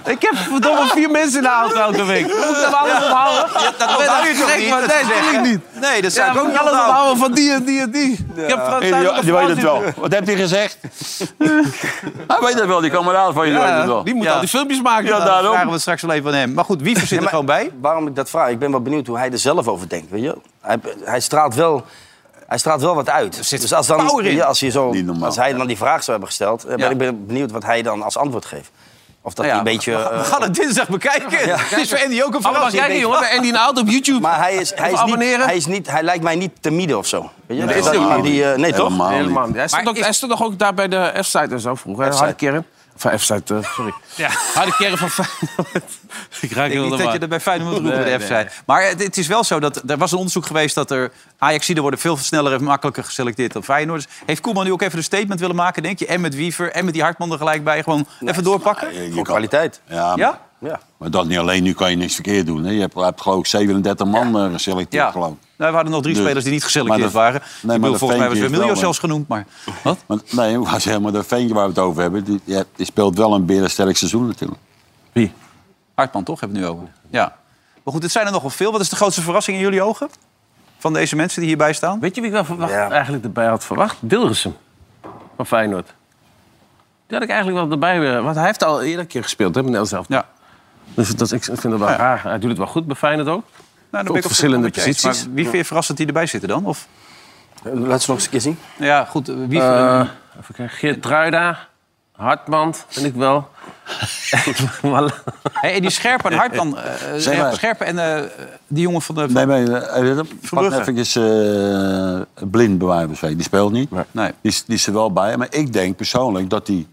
C: ik heb verdomme vier mensen in de auto elke week. Moet ik dat alles onthouden?
B: dat
C: Ik ben
B: onthoud
C: een
B: je toch
C: gek,
B: niet?
C: maar
B: Dat
C: Nee,
B: is
C: dat
B: echt-
C: wil ik niet.
B: Nee, dat zou
C: Ja,
B: ik ook
C: moet
B: niet
C: ik alles
B: onthouden.
C: onthouden van die en die en die. Ik heb
E: Die,
C: Frans
E: die, weet het wel. Wat heb je gezegd? hij weet het wel, die kameraad van je weet het wel.
C: Die moet
B: Ja.
C: al die filmpjes maken.
E: Ja,
B: Nou, dat
E: daarom.
B: vragen we straks wel even aan hem. Maar goed, wie zit er
D: maar-
B: gewoon bij?
D: Waarom ik dat vraag? Ik ben wel benieuwd hoe hij er zelf over denkt. Weet je? Hij, hij, straalt wel, hij straalt wel wat uit. dus als, dan,
B: power in.
D: ja, als, hij zo,
E: Niet normaal.
D: als hij dan die vraag zou hebben gesteld... eh,
B: Ja.
D: ben ik ben benieuwd wat hij dan als antwoord geeft. Of dat
B: Nou ja,
D: hij een beetje...
B: We
D: eh,
B: gaan het dinsdag bekijken. Het is voor Andy ook een
C: Allemaal mag
B: verrassing.
C: jij niet, hoor. Bij Andy en Auto op YouTube.
D: maar hij, is, hij, is niet,
C: abonneren?
D: hij, is niet, hij lijkt mij niet timide of zo. Weet je?
E: Nee,
D: dat,
E: helemaal
D: iemand die, eh, nee, toch?
E: Helemaal niet.
C: Helemaal niet. Hij stond,
B: Maar
C: ook, hij stond toch ook daar bij de F-site dus en zo vroeger. hè?
D: F-site.
C: Harde kern. Van F-site, eh, sorry.
B: Ja.
C: Harde kern van Feyenoord. ik raak
B: Ik denk
C: heel
B: niet dat je
C: de
B: er bij Feyenoord moet roepen,
C: Nee,
B: de F
C: nee.
B: zei. Maar het, het is wel zo dat er was een onderzoek geweest dat er Ajaxiden worden veel sneller en makkelijker geselecteerd dan Feyenoorders. Heeft Koeman nu ook even een statement willen maken, denk je? En met Wiever en met die Hartman er gelijk bij. Gewoon even doorpakken?
E: Je
D: Voor
E: kan-
D: kwaliteit.
E: Ja, maar-
B: Ja?
D: Ja.
E: maar dat niet alleen. Nu kan je niks verkeerd doen. Hè. Je hebt, je hebt geloof ik 37 man eh, geselecteerd.
B: Ja.
E: Geloof. ik.
B: Nou, we hadden nog drie
E: Dus-
B: spelers die niet geselecteerd
E: maar dat-
B: waren.
E: nee,
B: Ik
E: maar
B: bedoel,
E: dat
B: volgens mij was
E: Veentje is
B: Vermiljo
E: wel een-
B: zelfs genoemd, maar... Wat?
E: Maar, nee, maar zeg maar dat ventje waar we het over hebben... Die, die, die speelt wel een berensterk seizoen natuurlijk.
C: Wie?
B: Hartman toch, hebben we het nu over. Ja. Maar goed, het zijn er nogal veel. Wat is de grootste verrassing in jullie ogen? Van deze mensen die hierbij staan?
C: Weet je wie ik wel verwacht,
D: Ja.
C: eigenlijk erbij had verwacht? Dilgersum van Feyenoord. Die had ik eigenlijk wel erbij. eh, Want hij heeft al eerder een keer gespeeld, hè, meneer zelf.
B: Ja.
C: Dus dat, ik vind het wel raar. Hij doet het wel goed bij Feyenoord ook.
B: Nou,
C: Op
B: ben ik op
C: verschillende
B: zich wel met je eens.
C: posities.
B: Maar wie vind je verrassend die erbij zitten dan? Of,
D: Laat ze nog eens een keer zien.
B: nou ja, goed, eh, wie...
C: Eh even kijken. Geert Truida, Hartman, vind ik wel. Maar-
B: Hey, en die Scherpen en Hartman... eh, eh,
E: Zeg maar.
B: Scherpen en eh, die jongen van de...
E: Nee, maar eh, eh, pak
B: Verbrugge.
E: even eh blind bij wijze van spreken. Die speelt niet.
B: Nee.
E: Die, is- die is er wel bij. Maar ik denk persoonlijk dat die,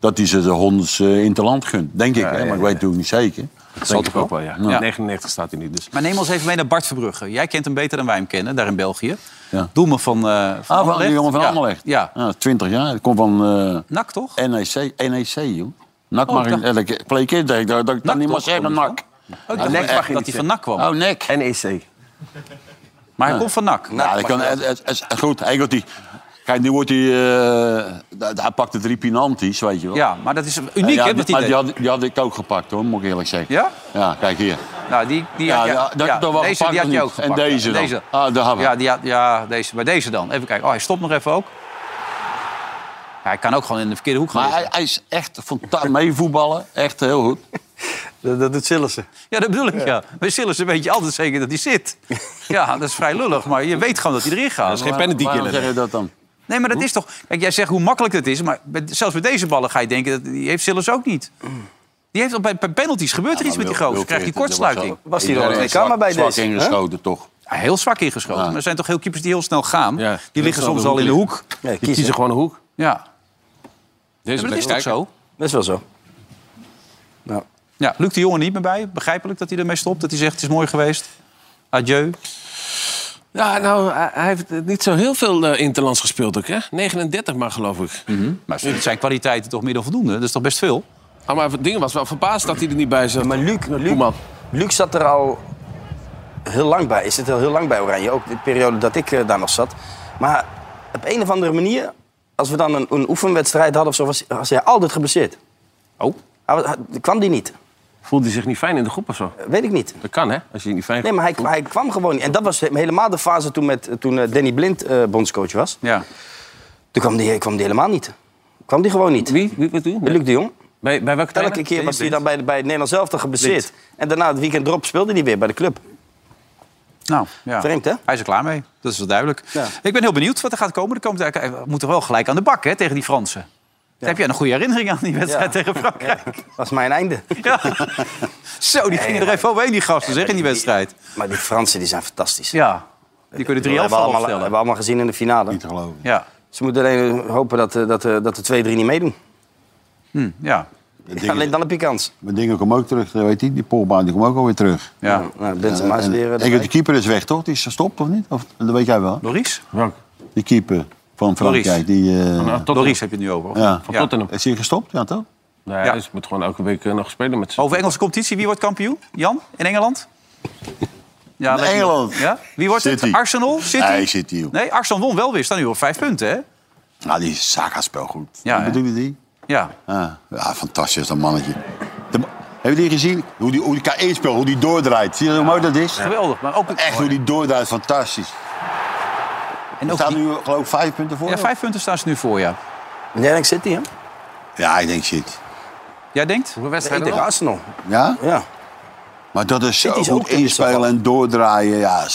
E: dat die ze de honds eh, in het land gunt. Denk ik, hè? maar ik weet het ook niet zeker. Ah,
C: Dat zal toch ook wel, ja.
B: Ja.
C: 99 staat hij nu, dus.
B: Maar neem ons even mee naar Bart Verbrugge. Jij kent hem beter dan wij hem kennen, daar in België.
E: Ja.
B: Doelman van, eh van
E: Ah, van
B: Anderlecht.
E: die jongen van
B: ja.
E: Anderlecht.
B: Ja.
E: 20 jaar. Dat komt van eh,
B: Nak, toch?
E: NEC. NEC, E joh. Nak
B: Oh,
E: mag ik
B: dat-
E: eh, dat ik- play kid, dat ik dat ik
B: Nak
E: dan niet mag
B: toch?
E: zeggen. Nak.
B: Oh, ik dacht
E: Nek mag
B: dat
E: je
B: hij
E: niet
B: van Nak kwam.
E: Oh, nek.
C: NEC.
B: Maar hij komt van Nak.
E: Nou, dat kan, het, het- het is goed. Hij wordt die, kijk, nu wordt hij... eh, dat- hij pakte drie penalties, weet je wel.
B: Ja, maar dat is uniek,
E: ja,
B: hè, wat
E: die, maar
B: hij
E: die
B: deed.
E: had, die had ik ook gepakt, hoor, moet ik eerlijk zeggen.
B: Ja?
E: Ja, kijk hier.
B: Nou, die, die
E: Ja,
B: had, jij-
E: ja, dat- dat was
B: deze
E: gepakt
B: die had
E: of
B: je
E: niet?
B: ook gepakt.
E: En deze dan? Ah, daar hebben we.
B: ja, die had, ja, deze. Maar deze dan. Even kijken. Oh, hij stopt nog even ook. Ja, hij kan ook gewoon in de verkeerde hoek gaan.
E: Maar hij,
B: liggen.
E: hij is echt fantastisch. Meevoetballen, echt heel goed.
D: Dat, dat doet Sillissen.
B: Ja, dat bedoel ik, ja. Bij Sillis een beetje altijd zeker dat hij zit. Ja, dat is vrij lullig, maar je weet gewoon dat hij erin gaat.
C: Geen penalty
E: Waarom
C: killer.
E: zeg je dat dan?
B: Nee, maar dat is toch... Kijk, jij zegt hoe makkelijk het is, maar met- zelfs met deze ballen ga je denken... Dat, die heeft Sillis ook niet. Die heeft, al bij, bij penalties gebeurt er iets met die gozer. Krijgt die kortsluiting.
D: Was hij er al in de
E: Zwak-
D: kamer bij
E: zwak
D: deze?
E: ingeschoten, toch?
B: Ja, heel zwak ingeschoten.
E: Ja.
B: Maar er zijn toch heel keepers die heel snel gaan.
C: Ja,
B: die
C: heel
B: liggen
C: snel
B: soms
C: de
B: al
C: hoek
B: in de hoek.
D: Nee,
C: Die kiezen
D: kiezen.
C: gewoon een hoek.
B: Ja,
C: Deze
B: maar dat is toch
C: blijft kijken.
B: zo?
D: Dat is wel zo.
B: Ja, Luc de Jong er niet meer bij. Begrijpelijk dat hij ermee stopt. Dat hij zegt, het is mooi geweest. Adieu.
C: Ja, nou, hij hij heeft eh, niet zo heel veel eh, interlands gespeeld ook, hè? 39 maar, geloof ik.
B: Maar het zijn kwaliteiten toch meer dan voldoende? Dat is toch best veel?
C: Ah, maar het ding was wel verbaasd dat hij er niet bij zat.
D: Maar Luc, Luc,
C: Koeman.
D: Luc zat er al heel lang bij. Is het al heel lang bij Oranje. Ook de periode dat ik eh, daar nog zat. Maar op een of andere manier, als we dan een, een oefenwedstrijd hadden of zo, was, was hij altijd geblesseerd.
C: Oh?
D: Hij, was- hij- kwam die niet?
C: Voelde hij zich niet fijn in de groep of zo?
D: Weet ik niet.
C: Dat kan, hè? Als je je niet fijn
D: Nee, maar hij, hij kwam gewoon niet. En dat was he- helemaal de fase toen, met, toen eh, Danny Blind eh, bondscoach was.
B: Ja.
D: Toen kwam die, kwam die helemaal niet. Kwam die gewoon niet.
C: Wie? Wie wat
D: Luc de Jong.
C: Bij, bij welke
D: Elke keer was hij dan bij, bij het Nederlands elftal geblesseerd.
B: Blind.
D: En daarna het weekend erop speelde hij weer bij de club.
B: Nou, ja.
D: Vreemd, hè?
B: Hij is er klaar mee. Dat is wel duidelijk.
D: Ja.
B: Ik ben heel benieuwd wat er gaat komen. Er komt, we moeten wel gelijk aan de bak hè, tegen die Fransen. Daar Heb jij een goede herinnering aan die wedstrijd tegen Frankrijk?
D: Dat was mijn einde.
B: Ja. Zo, die gingen er even overheen, die gasten, zeg, in die wedstrijd.
D: Maar die Fransen die zijn fantastisch.
B: Ja, die kunnen drie
D: We
B: elftal
D: hebben allemaal,
B: opstellen.
D: hebben we allemaal gezien in de finale. Niet
E: geloven.
B: Ja,
D: Ze moeten alleen hopen dat, eh, dat, eh, dat de 2-3 niet meedoen.
B: Hm, ja.
E: dingen-
D: alleen dan heb je kans.
E: Mijn dingen komen ook terug, dat weet je, die Polbaan die komt ook alweer terug.
B: Ja.
D: Nou, Benzema is
E: En-
D: weer... eh,
E: en
D: erbij.
E: de keeper is weg, toch? Die is gestopt, of niet? Of, dat weet jij wel.
B: Loris?
E: Die keeper van Frankrijk. Die, eh,
B: Loris heb je het nu over. of?
E: ja.
B: Ja.
E: Is hij gestopt? Ja, toch?
C: Nee, hij is- moet gewoon elke week eh, nog spelen met z'n
B: Over Engelse competitie, wie wordt kampioen? Jan, in Engeland? Ja, lijkt me-
E: Engeland.
B: Ja? Wie wordt
E: City.
B: het? Arsenal? City?
E: Nee, City, joh.
B: Nee, Arsenal won wel weer. Staan nu op vijf punten, hè?
E: Nou, die Saka speelt goed.
B: Ja,
E: Wat
B: hè?
E: bedoel je die?
B: Ja.
E: Ja, Ah. ja, fantastisch, dat mannetje. De, heb je die gezien? Hoe die, hoe die K1 speelt, hoe die doordraait. Zie je hoe mooi dat is?
B: Geweldig, maar ook...
E: Echt hoe die doordraait, fantastisch.
B: En
E: Er
B: ook
E: staan
B: die-
E: nu geloof ik vijf punten voor.
B: Ja, vijf punten staan ze nu voor, ja.
D: Jij denkt City, hè?
E: Ja, ik denk shit.
B: Jij denkt?
C: Hoeveel
D: Nee, tegen Arsenal.
E: Ja?
D: Ja.
E: Maar dat is zo
D: City is ook
E: goed
D: tegen
E: inspelen en doordraaien, ja.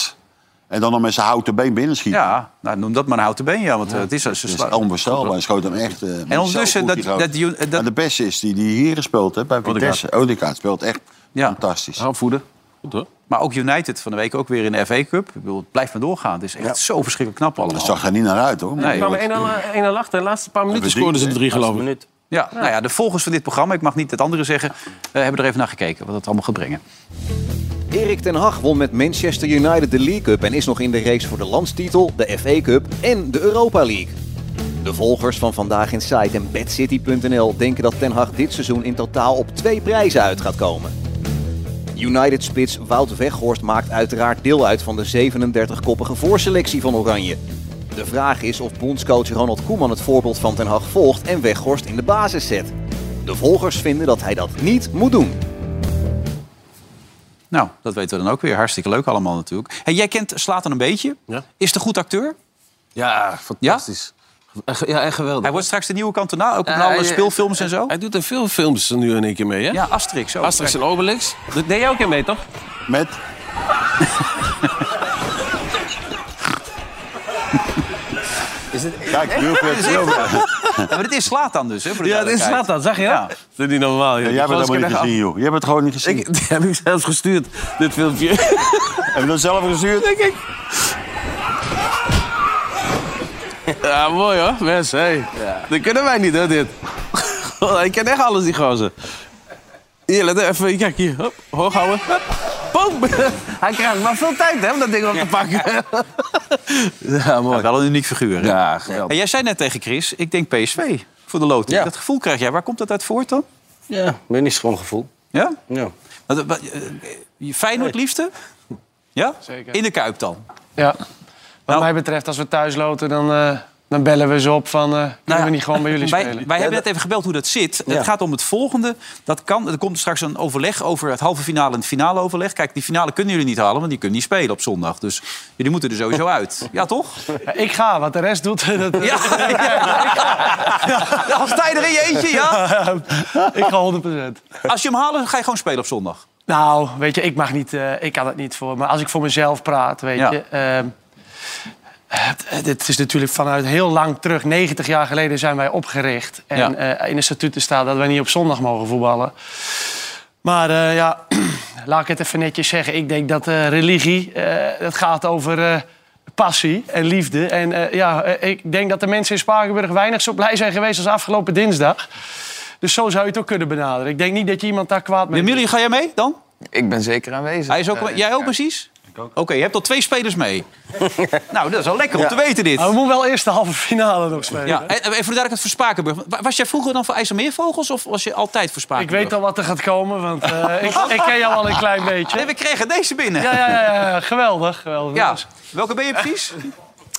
E: En dan nog met zijn houten been binnenschieten.
B: Ja, nou, noem dat maar een houten been, ja. Want eh, het is... Ze
E: Dat is
B: slaan-
E: onbestelbaar. Hij schoot hem echt... eh, maar
B: ondertussen
E: zo goed,
B: dat-
E: die gozer.
B: dat die- dat-
E: Maar de beste is die, die hier gespeeld heeft bij
B: Odegaard.
E: Vitesse. Odegaard speelt echt
B: Ja.
E: fantastisch.
C: voeden. Goed hoor.
B: Maar ook United van de week ook weer in de FA Cup. Ik bedoel, het blijft maar doorgaan. Het is echt zo verschrikkelijk knap allemaal.
E: Dat zag er niet naar uit, hoor.
B: Nee.
C: Er kwamen één aan- één aan eh, achter. De laatste paar minuten scoorden ze er drie, geloof ik.
D: Minuut.
B: Ja, nou ja, de volgers van dit programma, ik mag niet het andere zeggen... eh, hebben er even naar gekeken wat het allemaal gaat brengen.
M: Erik ten Hag won met Manchester United de League Cup en is nog in de race voor de landstitel, de FA Cup en de Europa League. De volgers van Vandaag in Site en BadCity.nl denken dat ten Hag dit seizoen in totaal op twee prijzen uit gaat komen. United-spits Wout Weghorst maakt uiteraard deel uit van de 37-koppige voorselectie van Oranje. De vraag is of bondscoach Ronald Koeman het voorbeeld van ten Hag volgt en Weghorst in de basis zet. De volgers vinden dat hij dat niet moet doen.
B: Nou, dat weten we dan ook weer. Hartstikke leuk allemaal natuurlijk. Hey, jij kent Slater een beetje.
C: Ja.
B: Is de goed acteur?
C: Ja, fantastisch. Ja, ja echt geweldig.
B: Hij wordt straks de nieuwe eh, kantonaar, ook op
C: Ja,
B: alle
C: hij-
B: speelfilms en zo.
C: Hij doet er veel films nu in één keer mee, hè?
B: Ja, Asterix ook.
C: Asterix en Obelix. Dat deed jij ook in mee, toch?
E: Met?
D: Is het...
E: Kijk, Wilfred. Wilfred.
B: Ja, maar dit is Slatan dus, hè? Voor de
C: Ja, dit is
B: duidelijkheid.
C: Zlatan, zeg je dat?
B: Ja.
C: Dat is niet normaal, joh.
E: Jij hebt het
C: Zoals ik
E: helemaal niet
C: heb
E: gezien, joh. Je hebt het gewoon niet gezien.
C: Ik, die heb ik zelfs gestuurd, dit filmpje.
E: Heb je dat zelf gestuurd?
C: Denk ik. Ja, mooi hoor, Wes. Hey. Dat kunnen wij niet, hè, dit. Goh, ik ken echt alles, die gozer. Hier, let even. Kijk, hier. Hop, hoog houden. Hop. Boom. Hij krijgt wel veel tijd, hè, om dat ding op te pakken. Ja, mooi.
B: Ja, wel een uniek figuur. Hè?
C: Ja, geweldig.
B: En jij zei net tegen Chris, ik denk PSV voor de loting.
D: Ja.
B: Dat gevoel krijg jij. Waar komt dat uit voort dan?
D: Ja, maar niet gewoon gevoel.
B: Ja?
D: Ja.
B: Wat- wat- eh, eh, Feyenoord liefste? Ja?
F: Zeker.
B: In de Kuip dan?
F: Ja. Wat
B: Nou.
F: mij betreft, als we thuis loten, dan, eh, dan bellen we ze op van... eh, kunnen we niet gewoon bij jullie
B: Nou wij,
F: spelen?
B: Wij hebben net even gebeld hoe dat zit.
D: Ja.
B: Het gaat om het volgende. Dat kan, er komt straks een overleg over het halve finale en het finale overleg. Kijk, die finale kunnen jullie niet halen, want die kunnen niet spelen op zondag. Dus jullie moeten er sowieso uit. Ja, toch?
F: Ja, ik ga, wat de rest doet... Dat,
B: Ja, Als tijd er in je eentje, ja.
F: eh, ik ga 100%.
B: Als je hem halen, ga je gewoon spelen op zondag.
F: Nou, weet je, ik mag niet, eh, ik kan het niet voor. Maar als ik voor mezelf praat, weet
B: Ja.
F: je. ehm, het, het is natuurlijk vanuit heel lang terug, 90 jaar geleden zijn wij opgericht. En
B: Ja.
F: eh, in de statuten staat dat wij niet op zondag mogen voetballen. Maar eh, ja, laat ik het even netjes zeggen. Ik denk dat eh, religie, eh dat gaat over eh, passie en liefde. En eh, ja, eh, ik denk dat de mensen in Spakenburg weinig zo blij zijn geweest als afgelopen dinsdag. Dus zo zou je het ook kunnen benaderen. Ik denk niet dat je iemand daar kwaad mee
B: Emilie, ga jij mee dan?
H: Ik ben zeker aanwezig.
B: Hij is ook,
H: eh,
B: jij ook
H: ja.
B: precies? Oké, je hebt al twee spelers mee. nou, dat is al lekker om te weten dit.
F: Maar we moeten wel eerst de halve finale nog spelen.
B: Ja, en en voor de duidelijkheid voor Spakenburg. Wa- Was jij vroeger dan voor IJsselmeervogels of was je altijd voor
F: Ik
B: Spakenburg?
F: weet al wat er gaat komen, want eh, ik, ik ken jou al een klein beetje.
B: Nee, we kregen deze binnen.
F: Ja, ja, ja, ja, geweldig. geweldig.
B: Ja. Welke ben je precies?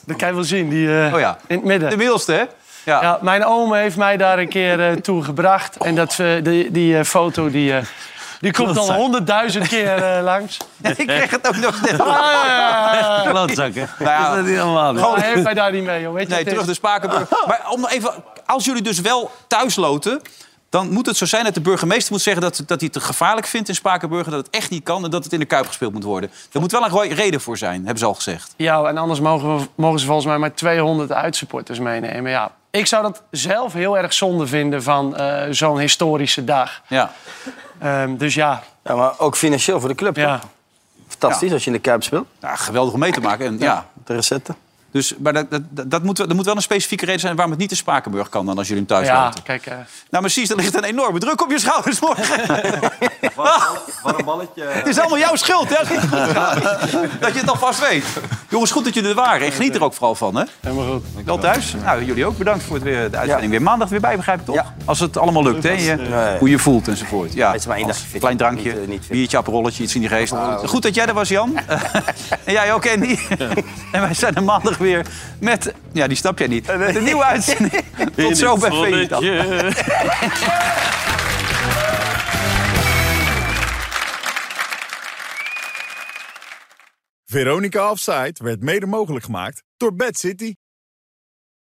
F: Dat kan je wel zien, die eh,
B: Oh ja.
F: in het midden.
B: De middelste, hè?
F: Ja. mijn oom heeft mij daar een keer eh, toe gebracht. En dat, eh, die, die eh, foto die, eh, die komt al
B: Klootzak.
F: honderdduizend keer eh, langs.
B: Ik kreeg het ook nog net.
F: Ah.
B: Klootzakken. Nou, is dat niet normaal?
F: Ja, hij heeft mij daar niet mee, joh. Weet je
B: Nee,
F: wat
B: terug
F: het is? Oh.
B: naar Spakenburg. Maar om nog even, als jullie dus wel thuis loten... dan moet het zo zijn dat de burgemeester moet zeggen... dat, dat hij het te gevaarlijk vindt in Spakenburg... en dat het echt niet kan en dat het in de Kuip gespeeld moet worden. Er moet wel een goeie reden voor zijn, hebben ze al gezegd.
F: Ja, en anders mogen, we, mogen ze volgens mij maar 200 uitsupporters meenemen. Ja. Ik zou dat zelf heel erg zonde vinden van eh, zo'n historische dag.
B: Ja.
F: Ehm, dus ja.
D: Ja, maar ook financieel voor de club.
F: Ja.
D: toch? Fantastisch als je in de Kuip speelt.
B: Ja, Nou, geweldig om mee te maken. En, ja.
D: De recette.
B: Dus, maar dat, dat, dat, moet, wel- er moet wel een specifieke reden zijn... waarom het niet in Spakenburg kan dan als jullie hem thuis
F: ja,
B: loten.
F: kijk. eh,
B: Nou, precies, er ligt een enorme druk op je schouders morgen.
S: Wat een balletje.
B: Het is allemaal jouw schuld, hè? als het niet goed gaat. Dat je het alvast weet. Jongens, goed dat jullie er waren. En geniet er ook vooral van, hè?
F: Helemaal goed.
B: Wel thuis. Nou, jullie ook bedankt voor het weer, de uitzending. Weer maandag weer bij, begrijp ik toch? Als het allemaal lukt, hè?
F: eh,
B: Je-
D: Nee.
B: Hoe je voelt enzovoort. Ja,
D: Het is maar één
B: als
D: dagje fit.
B: klein drankje,
D: Niet, eh, niet fit.
B: biertje, aperolletje, iets in die geest.
D: Nou,
B: goed dat jij er was, Jan. en jij ook, Andy. en wij zijn er maandag weer met... Ja, die snap jij niet. Met een nieuwe uitzending. Tot zo bij Veenendaal.
A: Veronica Offside werd mede mogelijk gemaakt door Bad City.